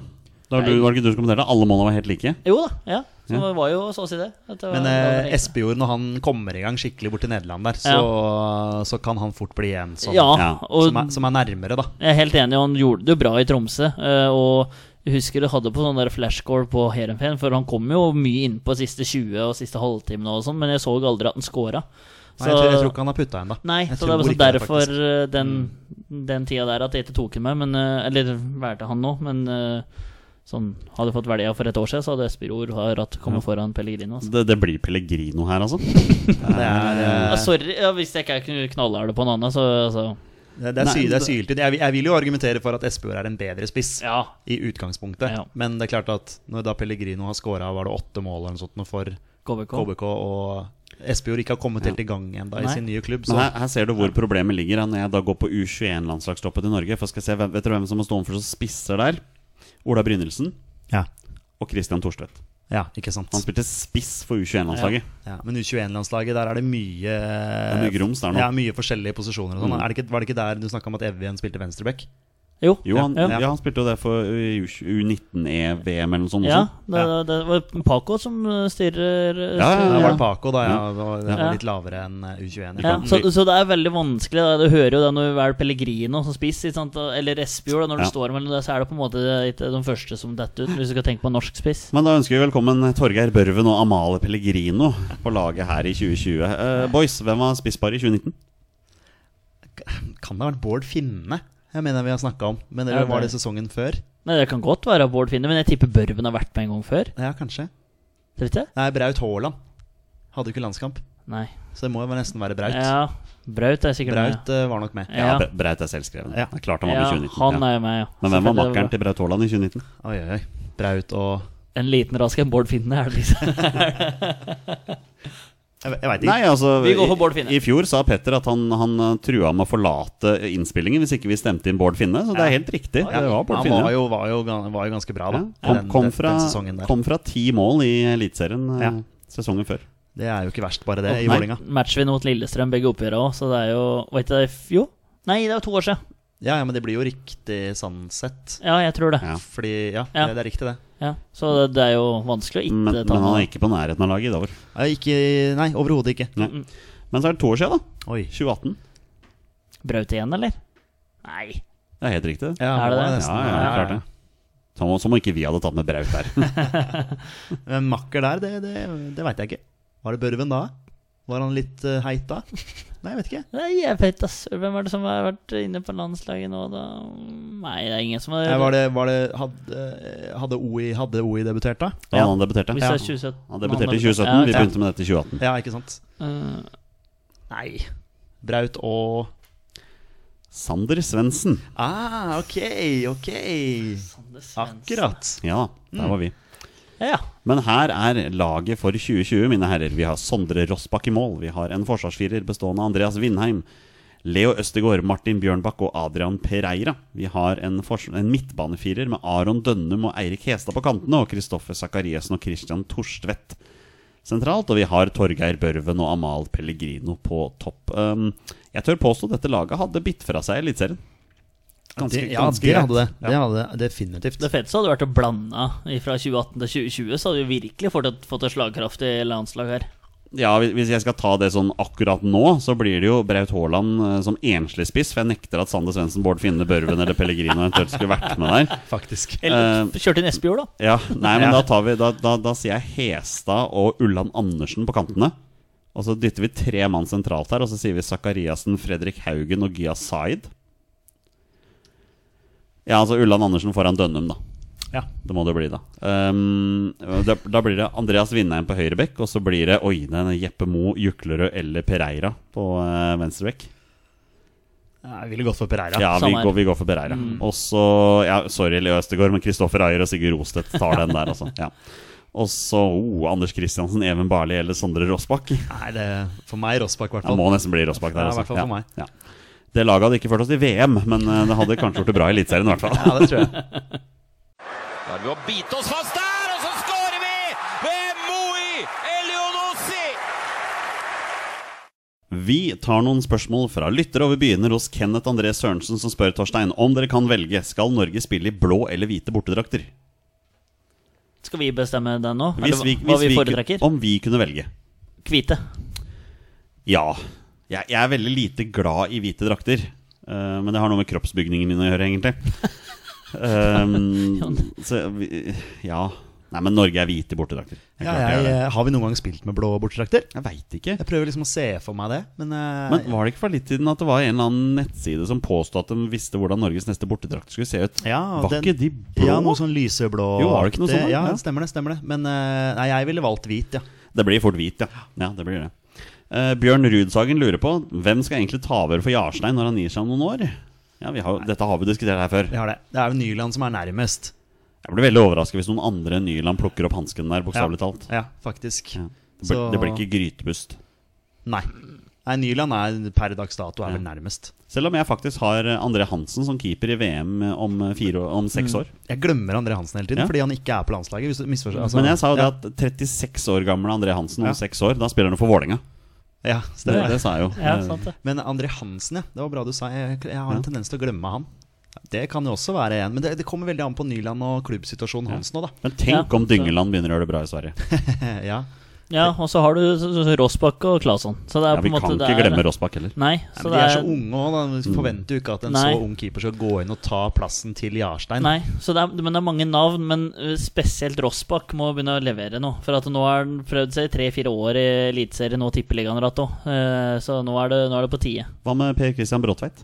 Speaker 1: da var, du, var det ikke du som kommenterte? Alle målene var helt like.
Speaker 2: Jo da, ja. Så
Speaker 1: Ja.
Speaker 2: det var jo så å si det. At det var-
Speaker 3: Men
Speaker 2: det var
Speaker 3: eh,
Speaker 2: det.
Speaker 3: Espejord, når han kommer i gang skikkelig borti Nederland der, så, så kan han fort bli en sånn
Speaker 2: ja,
Speaker 1: Ja,
Speaker 2: og
Speaker 3: som, er, som er nærmere, da.
Speaker 2: Jeg er helt enig, han gjorde det jo bra i Tromsø. eh, Og jeg husker du hadde på sånn der flashscore på Heerenveen, for han kom jo mye inn på siste 20 og siste halvtimen og sånn, men jeg så aldri at han scora.
Speaker 3: Nei, jeg, tror, jeg tror ikke han har putta ennå.
Speaker 2: Nei, så det er også derfor eh, den,
Speaker 3: Mm.
Speaker 2: den tida der at jeg ikke tok ham med, men eh, Eller valgte han nå, men eh, sånn Hadde jeg fått velja for et år siden, så hadde Espejord har hatt kommet foran Pellegrino. Altså.
Speaker 1: Det, det blir Pellegrino her, altså.
Speaker 3: Det er, eh,
Speaker 2: Ja, Ah, sorry, ja, hvis jeg ikke er knallhard på en annen, så altså,
Speaker 3: det det er,
Speaker 1: Nei,
Speaker 3: sy, det
Speaker 1: det-
Speaker 3: er syltynt. Jeg, vil- jeg vil jo argumentere for at Espejord er en bedre spiss.
Speaker 2: Ja.
Speaker 3: I utgangspunktet.
Speaker 2: Ja.
Speaker 3: Men det er klart at når da Pellegrino har scora åtte mål eller noe sånt nå for
Speaker 2: KBK.
Speaker 3: KBK, og Espejord ikke har kommet helt i gang ennå i
Speaker 2: Nei.
Speaker 3: sin nye klubb,
Speaker 1: Men
Speaker 3: så
Speaker 1: her, her ser du hvor problemet ligger ja, når jeg da går på U21-landslagstroppen til Norge. For skal jeg se, hvem- Vet dere hvem som må stå overfor som spisser der? Ola Brynildsen
Speaker 3: ja.
Speaker 1: og Christian Thorstvedt.
Speaker 3: ja, ikke sant.
Speaker 1: Han spilte spiss for U21-landslaget.
Speaker 3: Ja, men U21-landslaget, der er det mye
Speaker 1: Det er mye grums der nå. Mm.
Speaker 3: Ja, mye forskjellige posisjoner og sånn. Er det ikke- Var det ikke der du snakka om at Evjen spilte venstreback?
Speaker 2: Jo.
Speaker 1: Jo, han, ja.
Speaker 2: Ja.
Speaker 1: han spilte jo det for U19-EVM E eller noe sånt.
Speaker 2: Ja,
Speaker 1: også.
Speaker 2: det, det var Paco som eh, styrer
Speaker 1: Ja,
Speaker 2: eh,
Speaker 1: ja,
Speaker 3: Det
Speaker 2: styrer-
Speaker 3: var
Speaker 1: ja.
Speaker 3: det Paco, da. Ja,
Speaker 1: Mm.
Speaker 3: det var, det
Speaker 2: Ja.
Speaker 3: var litt lavere enn eh, U21.
Speaker 2: Ja,
Speaker 3: Ja.
Speaker 2: så, så det er veldig vanskelig. Da. Du hører jo det når du velger Pellegrino som spiss, ikke sant? eller Espejord. da. Når du
Speaker 1: Ja.
Speaker 2: står mellom det, så er det på en måte ikke de første som detter ut, hvis du skal tenke på norsk spiss.
Speaker 1: Men da ønsker vi velkommen Torgeir Børven og Amalie Pellegrino på laget her i 2020. Eh, boys, hvem var spisspar i 2019?
Speaker 3: Kan det ha vært Bård Finne? Jeg mener vi har snakka om. Men
Speaker 2: Ja,
Speaker 3: det
Speaker 2: det-
Speaker 3: var det sesongen før?
Speaker 2: Nei, Det kan godt være Bård Finne, men jeg tipper Børven har vært med en gang før.
Speaker 3: Ja, kanskje.
Speaker 2: Tror du ikke?
Speaker 3: Nei, Braut Haaland hadde jo ikke landskamp.
Speaker 2: Nei.
Speaker 3: Så det må jo nesten være Braut.
Speaker 2: Ja, Braut er sikkert
Speaker 3: Braut eh, var nok med.
Speaker 2: med. Ja.
Speaker 1: Bre- Braut er selvskreven.
Speaker 3: Ja.
Speaker 1: Det er klart han var
Speaker 2: Ja,
Speaker 1: med i 2019.
Speaker 2: han
Speaker 1: ja.
Speaker 2: er jo med, ja.
Speaker 1: Men hvem var
Speaker 2: Selvfølgelig
Speaker 1: makkeren til Braut Haaland i 2019?
Speaker 3: Oi, oi, oi. Braut og
Speaker 2: En liten rask en Bård Finne er det liksom.
Speaker 3: Jeg, jeg veit ikke.
Speaker 1: Nei, altså
Speaker 2: Vi går for Bård Finne.
Speaker 1: I, I fjor sa Petter at han, han eh, trua med å forlate innspillingen hvis ikke vi stemte inn Bård Finne, så det er helt riktig. Det var Bård
Speaker 3: han
Speaker 1: Finne.
Speaker 3: var jo, var, jo, gan- var jo ganske bra, da.
Speaker 1: ja.
Speaker 3: i
Speaker 1: kom,
Speaker 3: den,
Speaker 1: kom,
Speaker 3: den-
Speaker 1: fra,
Speaker 3: den sesongen der.
Speaker 1: kom fra ti mål i Eliteserien eh,
Speaker 3: Ja.
Speaker 1: sesongen før.
Speaker 3: Det er jo ikke verst, bare det, i
Speaker 1: Nei.
Speaker 3: Vålinga
Speaker 2: Matchvinn mot Lillestrøm, begge oppgjørene òg, så det er jo Var ikke det i f- Jo? Nei, det var to år siden.
Speaker 3: Ja, ja, men det blir jo riktig sånn sett.
Speaker 2: Ja, jeg tror det.
Speaker 1: Ja.
Speaker 3: Fordi, ja,
Speaker 2: Ja.
Speaker 3: Det, det er riktig, det.
Speaker 2: Ja. Så det, det er jo vanskelig å ikke
Speaker 1: Men,
Speaker 2: ta
Speaker 1: men han er ikke på nærheten av laget i dag.
Speaker 3: Ja, Ikke Nei, overhodet ikke.
Speaker 1: Nei. Men så er det to år siden, da.
Speaker 3: Oi.
Speaker 1: 2018.
Speaker 2: Braut igjen, eller? Nei.
Speaker 1: Det er helt riktig.
Speaker 3: Ja,
Speaker 2: Er
Speaker 3: må
Speaker 2: det det?
Speaker 3: jeg
Speaker 1: Ja,
Speaker 3: nesten-
Speaker 1: ja, ja, klart det. Som, om- som om ikke vi hadde tatt med Braut der.
Speaker 3: Men makker der, det, det, det veit jeg ikke. Var det Børven da? Var han litt eh, heit da? Nei, jeg vet ikke.
Speaker 2: Nei, jeg vet da søren. Hvem er det som har vært inne på landslaget nå, da? Nei, det er ingen som har
Speaker 3: Nei, var det, var det, hadde, eh, hadde, OI, hadde OI debutert da?
Speaker 1: Da han debuterte.
Speaker 2: Hvis det er 2017
Speaker 1: Han debuterte i 2017,
Speaker 2: Ja,
Speaker 1: vi
Speaker 2: ok.
Speaker 1: begynte med dette i 2018.
Speaker 3: Ja, ikke sant?
Speaker 2: Eh,
Speaker 3: Nei. Braut og
Speaker 1: Sander Svendsen.
Speaker 3: Ah, ok, ok.
Speaker 2: Sander Svendsen.
Speaker 3: Akkurat.
Speaker 1: Ja da, der var vi.
Speaker 2: Mm. Ja, ja.
Speaker 1: Men her er laget for 2020, mine herrer. Vi har Sondre Rossbakk i mål. Vi har en forsvarsfirer bestående av Andreas Vindheim, Leo Østegård, Martin Bjørnbakk og Adrian Pereira. Vi har en, fors- en midtbanefirer med Aron Dønnum og Eirik Hestad på kantene, og Kristoffer Sakariassen og Christian Torstvedt sentralt, og vi har Torgeir Børven og Amal Pellegrino på topp. Um, jeg tør påstå dette laget hadde bitt fra seg Eliteserien. Ganske,
Speaker 3: Det- ja, det hadde det.
Speaker 1: greit.
Speaker 3: Det hadde det definitivt.
Speaker 2: Det feteste hadde vært å blande fra 2018 til 2020, så hadde vi virkelig fått et, fått et slagkraftig landslag her.
Speaker 1: Ja, hvis- Hvis jeg skal ta det sånn akkurat nå, så blir det jo Braut Haaland eh, som enslig spiss. For jeg nekter at Sander Svendsen, Bård Finne, Børven eller Pellegrino eventuelt skulle vært med der. Eh,
Speaker 3: Faktisk.
Speaker 2: Eller kjørte inn Espejord, da.
Speaker 1: Ja, nei, men
Speaker 3: Ja.
Speaker 1: Da, tar vi, da, da, da sier jeg Hestad og Ulland Andersen på kantene. Og så dytter vi tre mann sentralt her, og så sier vi Sakariassen, Fredrik Haugen og Gia Zaid. Ja, altså Ulland Andersen foran Dønnum, da.
Speaker 3: Ja.
Speaker 1: Det må det bli, da. Ehm, da, da blir det Andreas Vindheim på høyre bekk, og så blir det Oi, det er Jeppe Mo, Juklerød eller Pereira på eh, venstre bekk.
Speaker 3: Jeg ville gått for Pereira.
Speaker 1: Ja, vi
Speaker 2: samme her.
Speaker 1: går, vi går for Pereira.
Speaker 3: Mm.
Speaker 1: Og så ja, Sorry, Leo Østegård, men Kristoffer Ayer og Sigurd Rostedt tar den der, altså. Ja. Og så oh, Anders Kristiansen, Even Barli eller Sondre Rossbakk.
Speaker 3: Nei, det for meg Rossbakk, i hvert
Speaker 1: Det
Speaker 3: fall.
Speaker 1: må nesten bli Rossbakk der,
Speaker 3: Ja, i
Speaker 1: altså.
Speaker 3: hvert fall for meg.
Speaker 1: Ja. Det laget hadde ikke ført oss til VM, men eh, det hadde kanskje gjort det bra i Eliteserien, i hvert fall.
Speaker 3: Ja, det tror jeg.
Speaker 5: Da er det ved å bite oss fast der, og så skårer vi ved Moi Elionossi!
Speaker 1: Vi tar noen spørsmål fra lyttere, og vi begynner hos Kenneth André Sørensen, som spør Torstein om dere kan velge, skal Norge spille i blå eller hvite bortedrakter?
Speaker 2: Skal vi bestemme den nå?
Speaker 1: Hvis
Speaker 2: Eller
Speaker 1: vi,
Speaker 2: hva
Speaker 1: hvis
Speaker 2: vi
Speaker 1: vi,
Speaker 2: foretrekker?
Speaker 1: ku- om vi kunne velge.
Speaker 2: Hvite.
Speaker 1: Ja. Jeg, jeg er veldig lite glad i hvite drakter. eh, men det har noe med kroppsbygningen min å gjøre, egentlig. Um, så vi- ja Nei, men Norge er hvite bortedrakter. Det er
Speaker 3: Ja,
Speaker 1: klart det er
Speaker 3: jeg,
Speaker 1: det.
Speaker 3: eh, har vi noen gang spilt med blå bortedrakter?
Speaker 1: jeg veit ikke.
Speaker 3: Jeg prøver liksom å se for meg det, men, eh,
Speaker 1: Men var det ikke for litt siden at det var en eller annen nettside som påstod at de visste hvordan Norges neste bortedrakt skulle se ut?
Speaker 3: ja,
Speaker 1: var
Speaker 3: den-
Speaker 1: ikke de blå?
Speaker 3: Ja, noe sånn lyseblå
Speaker 1: Jo, var det ikke noe sånt da?
Speaker 3: Ja,
Speaker 1: Ja.
Speaker 3: stemmer det, stemmer det. Men eh, nei, jeg ville valgt hvit, ja.
Speaker 1: Det blir fort hvit, ja. ja det blir det. Eh, Bjørn Rudsagen lurer på hvem skal egentlig ta over for Jarstein når han gir seg om noen år? Ja, vi har, jo- Dette har vi diskutert her før.
Speaker 3: Vi har det. Det er jo Nyland som er nærmest.
Speaker 1: Jeg blir veldig overraska hvis noen andre enn Nyland plukker opp hansken der, bokstavelig talt.
Speaker 3: Ja, faktisk.
Speaker 1: Ja. Det, blir,
Speaker 3: Så-
Speaker 1: det blir ikke grytebust.
Speaker 3: Nei. Nei, Nyland er per dags dato er vel nærmest.
Speaker 1: Selv om jeg faktisk har eh, André Hansen som keeper i VM om, eh, fire, år- om
Speaker 2: Mm.
Speaker 1: seks år.
Speaker 3: Jeg glemmer André Hansen hele tiden
Speaker 1: Ja.
Speaker 3: fordi han ikke er på landslaget. Hvis du misforstår altså,
Speaker 1: Men jeg sa jo
Speaker 3: ja.
Speaker 1: det at 36 år gamle André Hansen om
Speaker 3: Ja.
Speaker 1: seks år, da spiller han for Vålerenga.
Speaker 3: Ja,
Speaker 1: Det,
Speaker 3: stemmer.
Speaker 1: det sa jeg jo.
Speaker 2: Ja,
Speaker 1: Eh,
Speaker 2: sant det.
Speaker 3: Men André Hansen, ja. Det var bra du sa. Jeg, jeg har en tendens til å glemme han. Det kan jo også være en. Men det, det kommer veldig an på Nyland og klubbsituasjonen hans nå, da.
Speaker 1: Eh, Men tenk
Speaker 2: Ja.
Speaker 1: om Dyngeland begynner å gjøre det bra i Sverige.
Speaker 3: ja.
Speaker 2: Ja, og så har du så- så Rossbakk og Claesson. Så det er
Speaker 1: Ja,
Speaker 2: på
Speaker 1: vi
Speaker 2: en måte
Speaker 1: kan
Speaker 2: det
Speaker 1: ikke
Speaker 2: er-
Speaker 1: glemme Rossbakk heller.
Speaker 2: Nei,
Speaker 3: Nei,
Speaker 2: så
Speaker 3: men de er så
Speaker 2: det er
Speaker 3: unge òg, da. Vi forventer jo ikke at en
Speaker 2: Nei.
Speaker 3: så ung keeper skal gå inn og ta plassen til Jarstein.
Speaker 2: Nei, så det er, men det er mange navn, men eh, spesielt Rossbakk må begynne å levere nå. For at nå har han prøvd seg i tre-fire år i Eliteserien og Tippeligaen, Rato. Eh, Så nå er, det, nå er det på tide.
Speaker 1: Hva med Per Christian Bråtveit?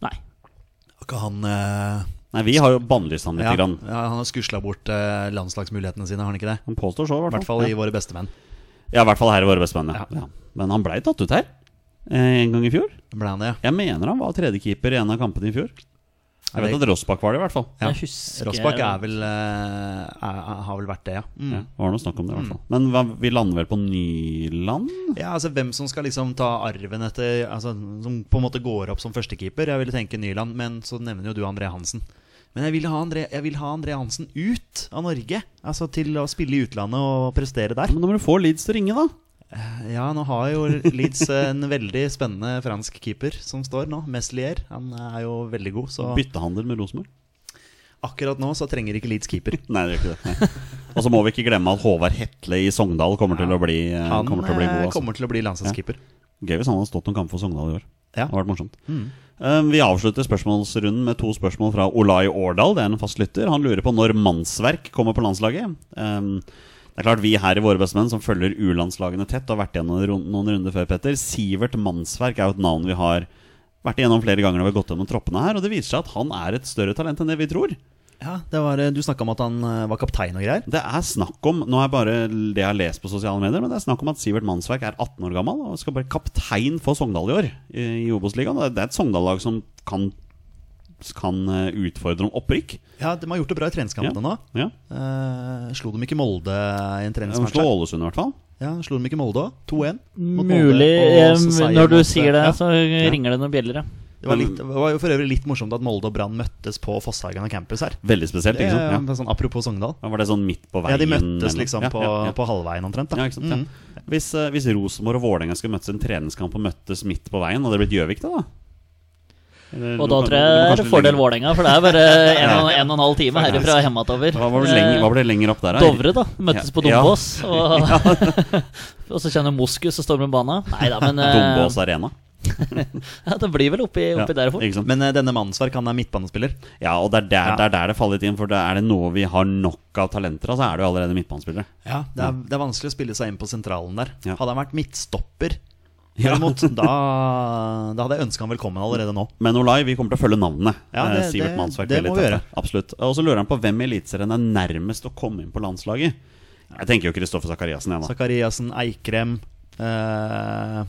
Speaker 2: Nei.
Speaker 3: Har ikke han eh,
Speaker 1: Nei, vi har jo bannlyst han litt.
Speaker 3: ja, ja,
Speaker 1: Grann.
Speaker 3: Han har skusla bort eh, landslagsmulighetene sine, har han ikke det?
Speaker 1: Han påstår så, i
Speaker 3: I
Speaker 1: hvert
Speaker 3: hvert
Speaker 1: fall.
Speaker 3: fall i våre beste menn.
Speaker 1: Ja, i hvert fall her i våre bestemenn. Ja.
Speaker 3: Ja.
Speaker 1: Ja. Men han blei tatt ut her eh, en gang i fjor.
Speaker 3: Ble han det, ja?
Speaker 1: Jeg mener han var tredjekeeper i en av kampene i fjor. Jeg vet
Speaker 3: det-
Speaker 1: at Rossbakk var det, i hvert fall.
Speaker 3: Ja.
Speaker 2: Jeg husker
Speaker 3: Rossbakk er vel eh, er, er, har vel vært det, ja. Mm.
Speaker 1: Ja, det var noe snakk om det, i hvert fall. Men hva, vi lander vel på Nyland?
Speaker 3: Ja, altså Hvem som skal liksom ta arven etter altså, Som på en måte går opp som førstekeeper. Jeg ville tenke Nyland, men så nevner jo du André Hansen. Men jeg vil ha André, jeg vil ha André Hansen ut av Norge. Altså Til å spille i utlandet og prestere der.
Speaker 1: Men da må du få Leeds til å ringe, da.
Speaker 3: Ja, nå har jo Leeds en veldig spennende fransk keeper som står nå. Meslier. Han er jo veldig god, så
Speaker 1: Byttehandel med Rosenborg.
Speaker 3: akkurat nå så trenger ikke Leeds keeper.
Speaker 1: Nei, det gjør ikke det. Nei. Og så må vi ikke glemme at Håvard Hetle i Sogndal kommer til å bli, eh,
Speaker 3: Han
Speaker 1: kommer til å bli god.
Speaker 3: eh,
Speaker 1: Altså.
Speaker 3: kommer til å bli landslagskeeper.
Speaker 1: Gøy hvis han hadde stått noen kamper for Sogndal i år.
Speaker 3: Ja.
Speaker 1: Det hadde vært morsomt. Eh, Vi avslutter spørsmålsrunden med to spørsmål fra Olai Årdal. Det er en fast lytter. Han lurer på når mannsverk kommer på landslaget. Eh, Det er klart Vi her i Våre bestemenn som følger U-landslagene tett, og har vært igjennom run- noen runder før, Petter. Sivert Mannsverk er jo et navn vi har vært igjennom flere ganger når vi har gått gjennom troppene her. Og det viser seg at han er et større talent enn det vi tror.
Speaker 3: Ja, det var, eh, Du snakka om at han eh, var kaptein og greier.
Speaker 1: Det er snakk om Nå er bare det jeg har lest på sosiale medier, men det er snakk om at Sivert Mannsverk er 18 år gammel og skal bli kaptein for Sogndal i år i i Obos-ligaen. Det er et Sogndal-lag som kan, kan eh, utfordre om opprykk.
Speaker 3: Ja, De har gjort det bra i treningskampene nå.
Speaker 1: Ja.
Speaker 3: Eh, slo de ikke Molde i en
Speaker 1: De
Speaker 3: treningsmatch?
Speaker 1: slår
Speaker 3: her?
Speaker 1: Ålesund, i hvert fall.
Speaker 3: Ja, Slo de ikke Molde òg? 2-1? mot Molde,
Speaker 2: Mulig
Speaker 3: og så
Speaker 2: eh,
Speaker 3: seier
Speaker 2: Når du
Speaker 3: mot-
Speaker 2: sier det,
Speaker 3: Ja.
Speaker 2: så ringer det noen bjeller, ja.
Speaker 3: Det var, litt, det var jo for øvrig litt morsomt at Molde og Brann møttes på Fosshaugen campus her.
Speaker 1: Veldig spesielt,
Speaker 3: Det,
Speaker 1: ikke
Speaker 3: er
Speaker 1: sant? Ja.
Speaker 3: sånn, apropos Sogndal.
Speaker 1: Ja, var det sånn midt på veien?
Speaker 3: Ja, De møttes
Speaker 1: eller-
Speaker 3: liksom
Speaker 1: Ja,
Speaker 3: på,
Speaker 1: ja, ja.
Speaker 3: på halvveien omtrent. Da.
Speaker 1: Ja, ikke sant, ja.
Speaker 3: Mm.
Speaker 1: Hvis, uh, hvis Rosenborg og Vålerenga skulle møtes i en treningskamp og møttes midt på veien, hadde det blitt Gjøvik, da? da? Eller
Speaker 2: Og
Speaker 1: lo-
Speaker 2: da
Speaker 1: lo-
Speaker 2: tror
Speaker 1: lo-
Speaker 2: jeg det
Speaker 1: kanskje
Speaker 2: er fordel
Speaker 1: lenger-
Speaker 2: Vålerenga, for det er bare en og en, og en halv time herifra hjemmatover.
Speaker 1: Hva var det lenger, hva var det lenger opp der, da?
Speaker 2: Dovre, da. Møttes
Speaker 1: Ja.
Speaker 2: på Dombås. Og, og så kjenner Moskus og stormer banen. Nei da, men eh,
Speaker 1: Dombås Arena.
Speaker 2: ja, Det blir vel oppi,
Speaker 1: Ja,
Speaker 2: oppi der fort.
Speaker 1: ikke sant?
Speaker 3: Men eh, denne mannsverk, han er midtbanespiller.
Speaker 1: Ja, og det er der,
Speaker 3: Ja.
Speaker 1: det er der det faller litt inn, for det er det noe vi har nok av talenter av, så er det jo allerede midtbanespillere.
Speaker 3: Ja, det er, det er vanskelig å spille seg inn på sentralen der.
Speaker 1: Ja.
Speaker 3: Hadde han vært midtstopper,
Speaker 1: Ja.
Speaker 3: derimot, da, da hadde jeg ønska han velkommen allerede nå.
Speaker 1: Men Olai, vi kommer til å følge navnene.
Speaker 3: Ja,
Speaker 1: Eh,
Speaker 3: det-
Speaker 1: Sivert
Speaker 3: det-
Speaker 1: Mannsverk
Speaker 3: det
Speaker 1: veldig
Speaker 3: må vi
Speaker 1: tett,
Speaker 3: gjøre.
Speaker 1: da. Absolutt. Og så lurer han på hvem i Eliteserien er nærmest å komme inn på landslaget. Jeg tenker jo Kristoffer Sakariassen igjen, da.
Speaker 3: Sakariassen, Eikrem eh,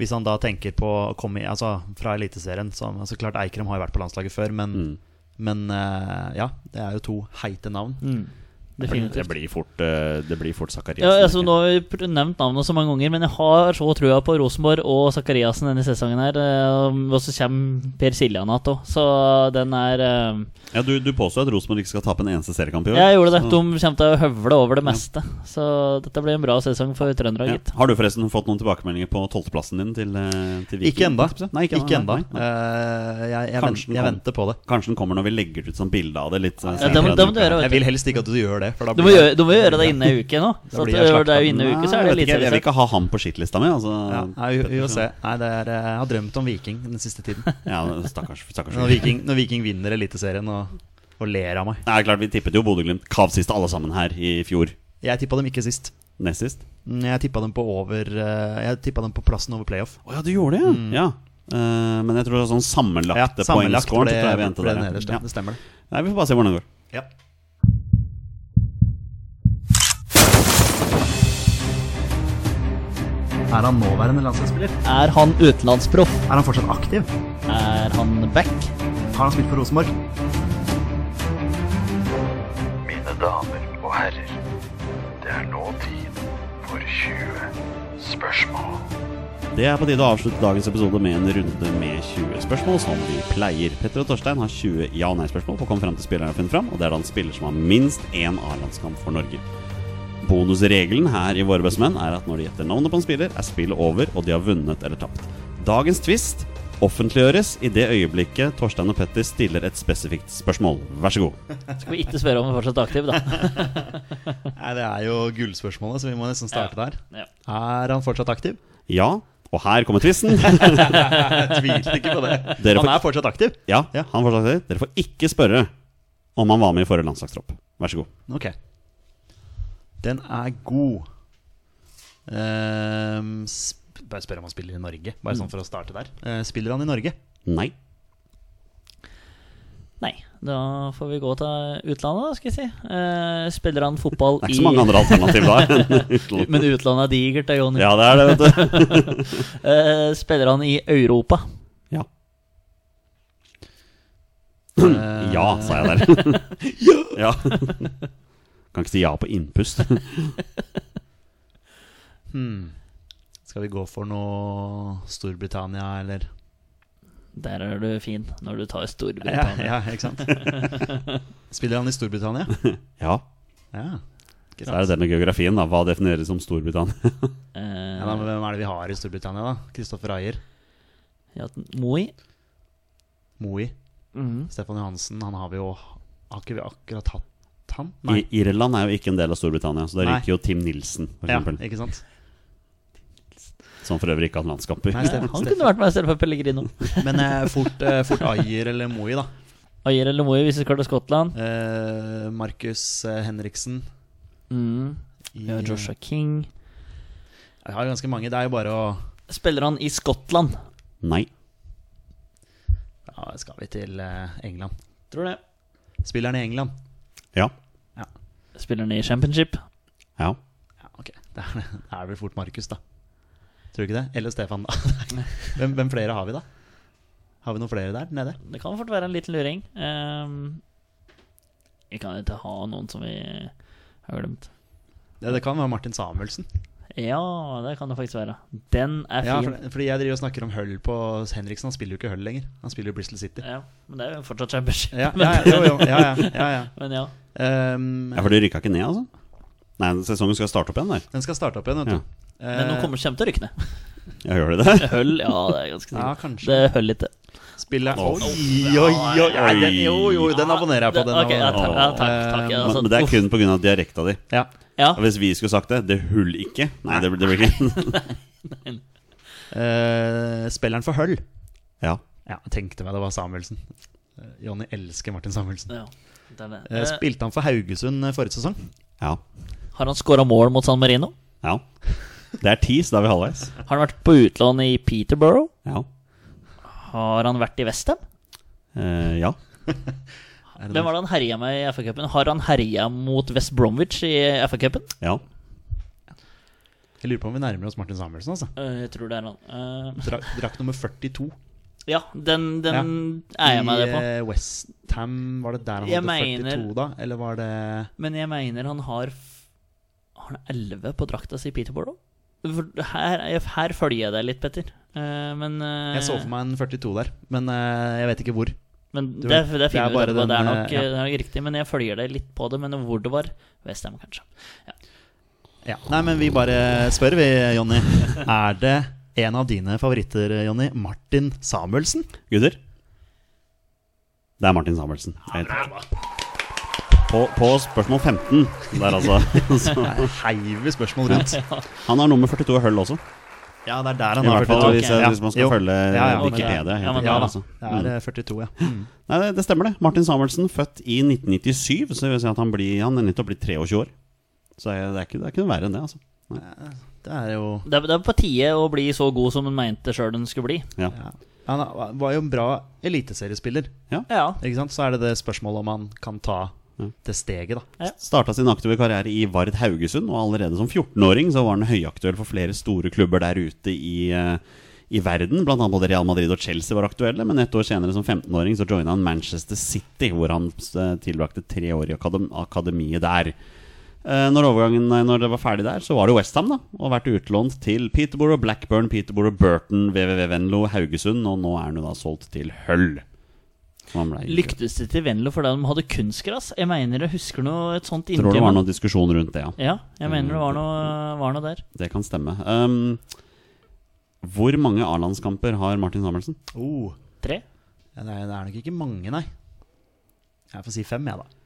Speaker 3: Hvis han da tenker på å komme i, altså, fra Eliteserien så altså, Klart Eikrem har jo vært på landslaget før, men,
Speaker 1: Mm.
Speaker 3: men eh, ja, det er jo to heite navn.
Speaker 1: Det
Speaker 2: Definitivt.
Speaker 1: blir fort, eh, det Mm. blir fort Sakariassen.
Speaker 2: Ja, altså,
Speaker 1: tenker jeg.
Speaker 2: nå har vi pr- nevnt navnet så mange ganger, men jeg har så trua på Rosenborg og Sakariassen denne sesongen her. eh, Og så kommer Per Siljan igjen òg, så den er eh,
Speaker 1: Ja, du, du påstår at Rosenborg ikke skal tape en eneste seriekamp i år.
Speaker 2: Jeg gjorde det. De kommer til å høvle over det meste. Så dette blir en bra sesong for Trøndelag,
Speaker 1: Ja.
Speaker 2: gitt.
Speaker 1: Har du forresten fått noen tilbakemeldinger på tolvteplassen din til, eh, til Viking?
Speaker 3: Ikke enda.
Speaker 1: Nei, ikke,
Speaker 3: enda.
Speaker 1: nei, nei.
Speaker 3: Eh, jeg
Speaker 1: Kanskje den
Speaker 3: jeg, vent, jeg
Speaker 1: kommer.
Speaker 3: venter på det.
Speaker 1: Kanskje den kommer når vi legger ut sånn bilde av det litt eh,
Speaker 2: Ja,
Speaker 1: senere
Speaker 2: det må-
Speaker 1: denne
Speaker 2: det må du
Speaker 1: uka.
Speaker 3: Jeg
Speaker 2: gjøre, vet du.
Speaker 3: vil helst ikke at du gjør det. For da
Speaker 2: Du må
Speaker 3: blir
Speaker 2: gjøre,
Speaker 3: jeg-
Speaker 2: du må gjøre det innen ei uke nå. Så
Speaker 3: blir jeg
Speaker 2: at eh, det det er jo
Speaker 3: slakta.
Speaker 2: innen ei uke,
Speaker 1: Nei, jeg vet
Speaker 2: så er det litt sånn-
Speaker 1: ikke, Jeg vil ikke ha ham på shitlista mi, altså.
Speaker 3: ja, nei, vi, vi får se. Nei, det er, eh, jeg har drømt om Viking den siste tiden.
Speaker 1: Ja, stakkars. stakkars.
Speaker 3: Når Viking, når Viking vinner Eliteserien og, og ler av meg.
Speaker 1: Det er klart, Vi tippet jo Bodø-Glimt kav sist alle sammen her i fjor.
Speaker 3: Jeg tippa dem ikke sist.
Speaker 1: Nest sist.
Speaker 3: Mm, Jeg tippa dem på over eh, Jeg tippet dem på plassen over playoff.
Speaker 1: Å ja, du gjorde det, ja. ja. Eh, men jeg tror det var sånn
Speaker 3: Mm. Ja,
Speaker 1: sammenlagte
Speaker 3: sammenlagt
Speaker 1: poengscoren.
Speaker 3: ble,
Speaker 1: så tror jeg vi endte
Speaker 3: ble
Speaker 1: der, ja.
Speaker 3: nederst. Ja. Det stemmer,
Speaker 1: Ja. Nei, Vi får bare se hvordan det går.
Speaker 3: det. Ja. Er han nåværende landslagsspiller?
Speaker 2: Er han utenlandsproff?
Speaker 3: Er han fortsatt aktiv?
Speaker 2: Er han back?
Speaker 3: Har han spilt for Rosenborg?
Speaker 6: Mine damer og herrer, det er nå tid for 20 spørsmål.
Speaker 1: Det er på tide å avslutte dagens episode med en runde med 20 spørsmål, som vi pleier. Petter og Torstein har 20 ja- og nei-spørsmål for å komme fram til spilleren jeg har funnet fram, og det er da en spiller som har minst én A-landskamp for Norge. Bonusregelen her i Våre bestemenn er at når de gjetter navnet på en spiller, er spillet over, og de har vunnet eller tapt. Dagens twist offentliggjøres i det øyeblikket Torstein og Petter stiller et spesifikt spørsmål. Vær så god.
Speaker 2: Skal vi ikke spørre om han er fortsatt aktiv, da?
Speaker 3: Nei, Det er jo gullspørsmålet, så vi må nesten starte der.
Speaker 2: Ja.
Speaker 3: Er han fortsatt aktiv?
Speaker 1: Ja, og her kommer twisten.
Speaker 3: Jeg tviler ikke på det.
Speaker 1: Dere får-
Speaker 3: Han er fortsatt aktiv?
Speaker 1: Ja,
Speaker 3: Ja.
Speaker 1: han fortsatt sier. Dere får ikke spørre om han var med i forrige landslagstropp. Vær så god.
Speaker 3: Ok. Den er god. Ehm, sp bare spør om han spiller i Norge. Bare sånn for å starte der. Eh, spiller han i Norge?
Speaker 1: Nei.
Speaker 2: Nei. Da får vi gå til utlandet, da, skal jeg si. Eh, spiller han fotball
Speaker 1: Det er
Speaker 2: i
Speaker 1: ikke så mange andre alternativ der enn utlandet.
Speaker 2: Men utlandet er digert, det, Jonny.
Speaker 1: Ja, det er det, vet du.
Speaker 2: Eh, spiller han i Europa?
Speaker 1: Ja, ja sa jeg der. Eh. Ja. Kan ikke si ja på innpust.
Speaker 3: Hmm. Skal vi gå for noe Storbritannia, eller
Speaker 2: Der er du fin, når du tar
Speaker 3: ja,
Speaker 2: Storbritannia.
Speaker 3: ja, ikke sant? Spiller han i Storbritannia?
Speaker 1: Ja.
Speaker 3: Ja. Ikke
Speaker 1: Så er det det med geografien, da. Hva defineres som Storbritannia?
Speaker 3: Ja, da, men hvem er det vi har i Storbritannia, da? Kristoffer Ayer,
Speaker 2: Ja, Moi?
Speaker 3: Moey,
Speaker 2: Mhm.
Speaker 3: Stefan Johansen. Han har vi jo Har ikke vi akkurat hatt han?
Speaker 1: I Irland er jo ikke en del av Storbritannia, så der
Speaker 3: Nei.
Speaker 1: ryker jo Tim Nilsen, for
Speaker 3: Ja,
Speaker 1: eksempel.
Speaker 3: ikke sant?
Speaker 1: Som for øvrig ikke har landskamper.
Speaker 3: Nei, Steff-
Speaker 2: Han
Speaker 3: Steff-
Speaker 2: kunne vært med i stedet for Pellegrino.
Speaker 3: Men eh, fort, eh, fort Ayer eller Moey, da.
Speaker 2: Ayer eller Moi hvis vi skal til Skottland.
Speaker 3: Eh, Markus eh, Henriksen.
Speaker 2: Mm.
Speaker 3: i-
Speaker 2: Ja, Joshua King.
Speaker 3: Jeg har ganske mange. Det er jo bare å
Speaker 2: Spiller han i Skottland?
Speaker 1: Nei.
Speaker 3: ja, Skal vi til eh, England?
Speaker 2: Tror det.
Speaker 3: Spilleren i England?
Speaker 1: Ja.
Speaker 2: Spiller han i Championship?
Speaker 1: Ja.
Speaker 3: Ja, ok. Det er, det er vel fort Markus, da. Tror du ikke det? Eller Stefan, da. hvem, hvem flere har vi, da? Har vi noen flere der nede?
Speaker 2: Det kan fort være en liten luring. Ehm, vi kan ikke ha noen som vi har glemt.
Speaker 3: Det, det kan være Martin Samuelsen.
Speaker 2: Ja, det kan det faktisk være. Den er
Speaker 3: Ja,
Speaker 2: fin.
Speaker 3: for, fordi jeg driver og snakker om høll på Henriksen. Han spiller jo ikke høll lenger. Han spiller jo Bristol City.
Speaker 2: Ja, men det er jo fortsatt championship.
Speaker 3: Ja, ja, jo, jo, ja, ja, ja, ja.
Speaker 2: Men ja.
Speaker 3: Ehm,
Speaker 1: Ja, for de rykka ikke ned, altså? Nei, sesongen skal starte opp igjen, der.
Speaker 3: den skal starte opp igjen, vet
Speaker 1: Ja.
Speaker 3: du.
Speaker 2: Men nå
Speaker 3: Eh,
Speaker 2: kommer kommer til å rykke ned.
Speaker 1: Ja, gjør de det?
Speaker 2: Høll, ja, det er ganske
Speaker 3: Ja,
Speaker 2: sikkert.
Speaker 3: kanskje.
Speaker 2: det høll ikke.
Speaker 3: Spillet
Speaker 1: Åh.
Speaker 3: Oi, oi, oi! Nei, den, jo, jo, den abonnerer jeg på. Eh, Den
Speaker 2: ok, ja, takk,
Speaker 3: abonnerer jeg
Speaker 2: ja, takk, takk, ja,
Speaker 1: Men,
Speaker 2: altså,
Speaker 1: men det er
Speaker 2: uff,
Speaker 1: kun pga. dialekta di.
Speaker 3: på. Ja.
Speaker 2: ja.
Speaker 1: Og Hvis vi skulle sagt det, det hull ikke Nei, det, blir- det blir ikke
Speaker 3: Eh, spilleren for høll.
Speaker 1: Ja.
Speaker 3: Ja, jeg tenkte meg det var Samuelsen. Eh, Jonny elsker Martin Samuelsen.
Speaker 2: ja, det er det.
Speaker 3: Eh,
Speaker 2: Eh,
Speaker 3: spilte han for Haugesund eh, forrige sesong?
Speaker 1: Ja.
Speaker 2: Har han scora mål mot San Marino?
Speaker 1: ja. Det er tis, da er vi halvveis.
Speaker 2: Har han vært på utlån i Peterborough?
Speaker 1: Ja.
Speaker 2: Har han vært i Westham?
Speaker 1: Eh, ja.
Speaker 2: Hvem var det han herja med i FA-cupen? Har han herja mot West Bromwich i FA-cupen?
Speaker 1: Ja.
Speaker 3: Jeg lurer på om vi nærmer oss Martin Samuelsen, altså.
Speaker 2: Eh, jeg tror det er han. Eh,
Speaker 3: Dra drakk nummer 42
Speaker 2: ja, den, den er jeg med
Speaker 3: i
Speaker 2: deg på.
Speaker 3: eh, Westham. Var det der han
Speaker 2: Jeg
Speaker 3: hadde
Speaker 2: mener-
Speaker 3: 42, da? Eller var det
Speaker 2: Men jeg mener han har f- Har han 11 på drakta si i Peterborough? For Her, er jeg- her følger jeg deg litt, Petter. Eh, men eh,
Speaker 3: Jeg så for meg en 42 der, men eh, jeg vet ikke hvor.
Speaker 2: Men
Speaker 3: Du
Speaker 2: det,
Speaker 3: vet,
Speaker 2: det
Speaker 3: det er
Speaker 2: finner vi ut
Speaker 3: bare
Speaker 2: etterpå. Det er
Speaker 3: den,
Speaker 2: nok,
Speaker 3: eh, ja.
Speaker 2: det er nok riktig, men jeg følger deg litt på det. Men hvor det var Westham, kanskje.
Speaker 3: Ja. Nei, men vi bare spør, vi, Jonny. Er det en av dine favoritter, Jonny? Martin Samuelsen?
Speaker 1: Gutter? Det er Martin Samuelsen. Det er helt- På, på spørsmål 15 der, altså. Så,
Speaker 3: Her heiver vi spørsmål rundt.
Speaker 1: han har nummer 42 i høll også.
Speaker 3: Ja, det er der han
Speaker 1: I hvert fall hvis, jeg,
Speaker 3: Ja.
Speaker 1: hvis man skal
Speaker 3: Jo.
Speaker 1: følge
Speaker 3: Ja, ja, men-
Speaker 1: Wikipedia. helt
Speaker 2: ja, men-
Speaker 1: enig,
Speaker 3: Ja da,
Speaker 1: altså.
Speaker 3: det er eh, 42, ja.
Speaker 1: Nei, det, det stemmer det. Martin Samuelsen, født i 1997, så det vil si at han, blir, han er nettopp blitt 23 år. Så jeg- det er ikke, det er ikke noe verre enn det, altså.
Speaker 3: Det er jo
Speaker 2: Det er, det er på tide å bli så god som hun mente sjøl hun skulle bli.
Speaker 1: Ja.
Speaker 3: ja. Han er- var jo en bra eliteseriespiller,
Speaker 2: Ja,
Speaker 3: ikke sant? Så er det det spørsmålet om han kan ta det steget, da.
Speaker 1: Starta sin aktive karriere i Vard Haugesund, og allerede som 14-åring så var han høyaktuell for flere store klubber der ute i, eh, i verden. Blant annet både Real Madrid og Chelsea var aktuelle, men et år senere, som 15-åring, så joina han Manchester City, hvor han eh, tilbrakte tre år i akadem akademiet der. Eh, Når overgangen nei, når det var ferdig der, så var det Westham, da. Og vært utlånt til Peterborough, Blackburn, Peterborough, Burton, WWW Venlo, Haugesund, og nå er han jo da solgt til Høll. Som han ble-
Speaker 2: Lyktes det til Venlo fordi de hadde kunstgras? Jeg mener jeg husker noe et sånt
Speaker 1: Tror det
Speaker 2: inntil
Speaker 1: var noen diskusjon rundt det, ja.
Speaker 2: Ja, jeg mener det var noe, var noe der.
Speaker 1: Det kan stemme. Um, hvor mange A-landskamper har Martin Samuelsen?
Speaker 3: Oh,
Speaker 2: Tre?
Speaker 3: ja, det, er, det er nok ikke mange, nei. Jeg får si fem, jeg, da.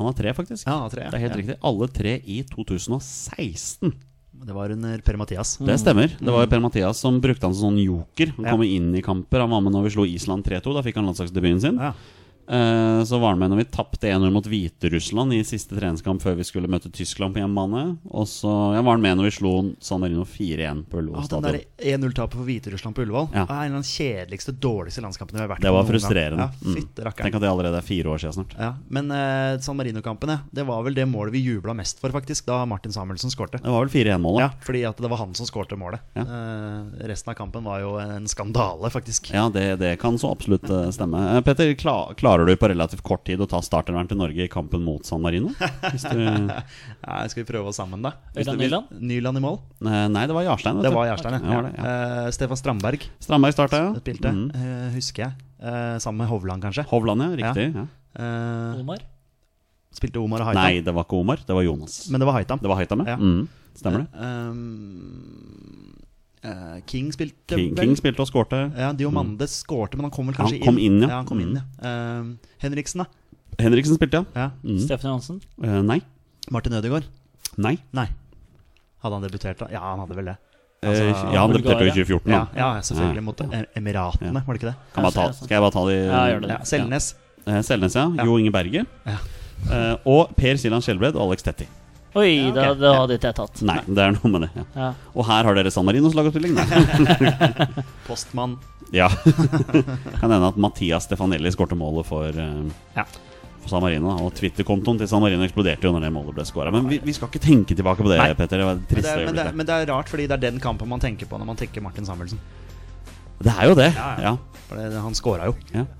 Speaker 1: Han har tre, faktisk.
Speaker 3: Ja, han har tre, ja.
Speaker 1: Det er helt
Speaker 3: Ja.
Speaker 1: riktig. Alle tre i 2016.
Speaker 3: Det var under Per-Mathias.
Speaker 1: Det stemmer. Det var Per-Mathias som brukte han som sånn joker. Han
Speaker 3: Mm. Ja.
Speaker 1: kom inn i kamper. Han var med når vi slo Island 3-2. Da fikk han landslagsdebuten sin.
Speaker 3: Ja.
Speaker 1: Eh, Så var han med når vi tapte 1-0 mot Hviterussland i siste treningskamp før vi skulle møte Tyskland på hjemmebane. Og så ja, var han med når vi slo San Marino 4-1 på
Speaker 3: Å,
Speaker 1: Ullevål
Speaker 3: den der
Speaker 1: stadion.
Speaker 3: 1-0-tapet for Hviterussland på Ullevål
Speaker 1: Ja.
Speaker 3: er en av de kjedeligste, dårligste landskampene vi har vært
Speaker 1: Det var
Speaker 3: på noen gang.
Speaker 1: frustrerende.
Speaker 3: Ja,
Speaker 1: Mm.
Speaker 3: fytte
Speaker 1: Tenk
Speaker 3: rakkeren.
Speaker 1: at det allerede er fire år siden snart.
Speaker 3: Ja, men eh, San Marino-kampene, det var vel det målet vi jubla mest for, faktisk, da Martin Samuelsen skårte.
Speaker 1: Det var vel 4-1-målet.
Speaker 3: Ja, fordi at det var han som skårte målet. Eh, resten av kampen var jo en skandale, faktisk.
Speaker 1: Ja, det, det kan så absolutt eh, stemme. Eh, Petter, kla klarer du på relativt kort tid å ta startervern til Norge i kampen mot San Marino? Hvis du, eh,
Speaker 3: Nei, skal vi prøve oss sammen, da?
Speaker 2: Øystein Nyland?
Speaker 3: Nyland i mål.
Speaker 1: nei, det var Jarstein. vet
Speaker 3: Det
Speaker 1: du.
Speaker 3: var Jarstein,
Speaker 1: Ja, var det, ja.
Speaker 3: Eh, Stefan Strandberg
Speaker 1: Strandberg starta, ja.
Speaker 3: spilte,
Speaker 1: Mhm.
Speaker 3: eh, husker jeg. Eh, sammen med Hovland, kanskje.
Speaker 1: Hovland, ja. Riktig. Ja. Mm.
Speaker 3: Eh,
Speaker 2: Omar?
Speaker 3: spilte Omar og Haitam.
Speaker 1: Nei, det var ikke Omar. Det var Jonas.
Speaker 3: Men det var Haitam.
Speaker 1: Det var Haitame.
Speaker 3: Ja.
Speaker 1: Mm, stemmer det.
Speaker 3: Eh, eh, King spilte
Speaker 1: King,
Speaker 3: vel?
Speaker 1: King spilte og skårte.
Speaker 3: Ja, Diomande skårte, men han kom vel
Speaker 1: Han
Speaker 3: kanskje
Speaker 1: kom inn, ja.
Speaker 3: han kom inn, ja. Eh, Henriksen, da.
Speaker 1: Henriksen spilte, ja.
Speaker 3: Ja.
Speaker 2: Steffen Johansen?
Speaker 1: Eh, nei.
Speaker 3: Martin Ødegaard.
Speaker 1: Nei.
Speaker 3: Nei. Hadde han debutert da? Ja, han hadde vel det.
Speaker 1: Eh, ja, han debuterte jo i 2014. da.
Speaker 3: Ja, Altså, ja selvfølgelig mot Em- Emiratene, var det ikke det?
Speaker 1: Kan bare ta, skal jeg bare ta de
Speaker 2: Ja, gjør det.
Speaker 3: Ja, Selnes.
Speaker 1: Eh, Selnes, ja. Jo Inge Berge.
Speaker 3: Ja.
Speaker 1: Eh, og Per Siljan Skjelbred og Alex Tetti.
Speaker 2: Oi, da, det hadde ikke jeg tatt.
Speaker 1: Nei, det er noe med det. Ja.
Speaker 2: Ja.
Speaker 1: Og her har dere San Marinos lagoppstilling. Nei.
Speaker 3: Postmann.
Speaker 1: Ja. kan hende at Mathias Stefanelli skårte målet for, eh,
Speaker 3: Ja.
Speaker 1: for San Marino. da. Og Twitter-kontoen til San Marino eksploderte jo når det målet ble skåra. Men vi, vi skal ikke tenke tilbake på det,
Speaker 3: Nei.
Speaker 1: Petter. Det var det
Speaker 3: Men det,
Speaker 1: triste
Speaker 3: er, men, det,
Speaker 1: øyeblikket.
Speaker 3: men det er rart, fordi det er den kampen man tenker på når man tenker Martin Samuelsen.
Speaker 1: Det er jo det. Ja,
Speaker 3: Ja, ja.
Speaker 1: ja.
Speaker 3: For det, han scora jo.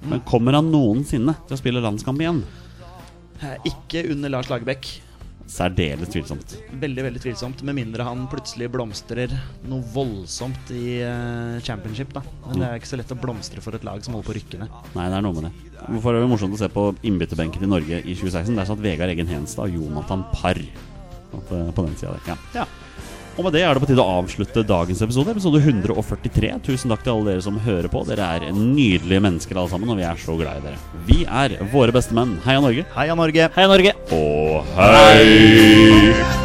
Speaker 1: Men kommer han noensinne til å spille landskamp igjen?
Speaker 3: Eh, Ikke under Lars Lagerbäck.
Speaker 1: særdeles tvilsomt.
Speaker 3: Veldig veldig tvilsomt, med mindre han plutselig blomstrer noe voldsomt i eh, championship. da Men det er ikke så lett å blomstre for et lag som holder på å rykke ned.
Speaker 1: Nei, det er noe med det. For øvrig morsomt å se på innbytterbenken i Norge i 2016. Der satt Vegard Eggen Henstad og Jonathan Parr At, eh, på den sida der. Ja.
Speaker 3: Ja.
Speaker 1: Og med det er det på tide å avslutte dagens episode, episode 143. Tusen takk til alle dere som hører på. Dere er nydelige mennesker alle sammen, og vi er så glad i dere. Vi er våre beste menn. Heia Norge,
Speaker 3: Heia Norge!
Speaker 2: Heia Norge!
Speaker 1: og hei!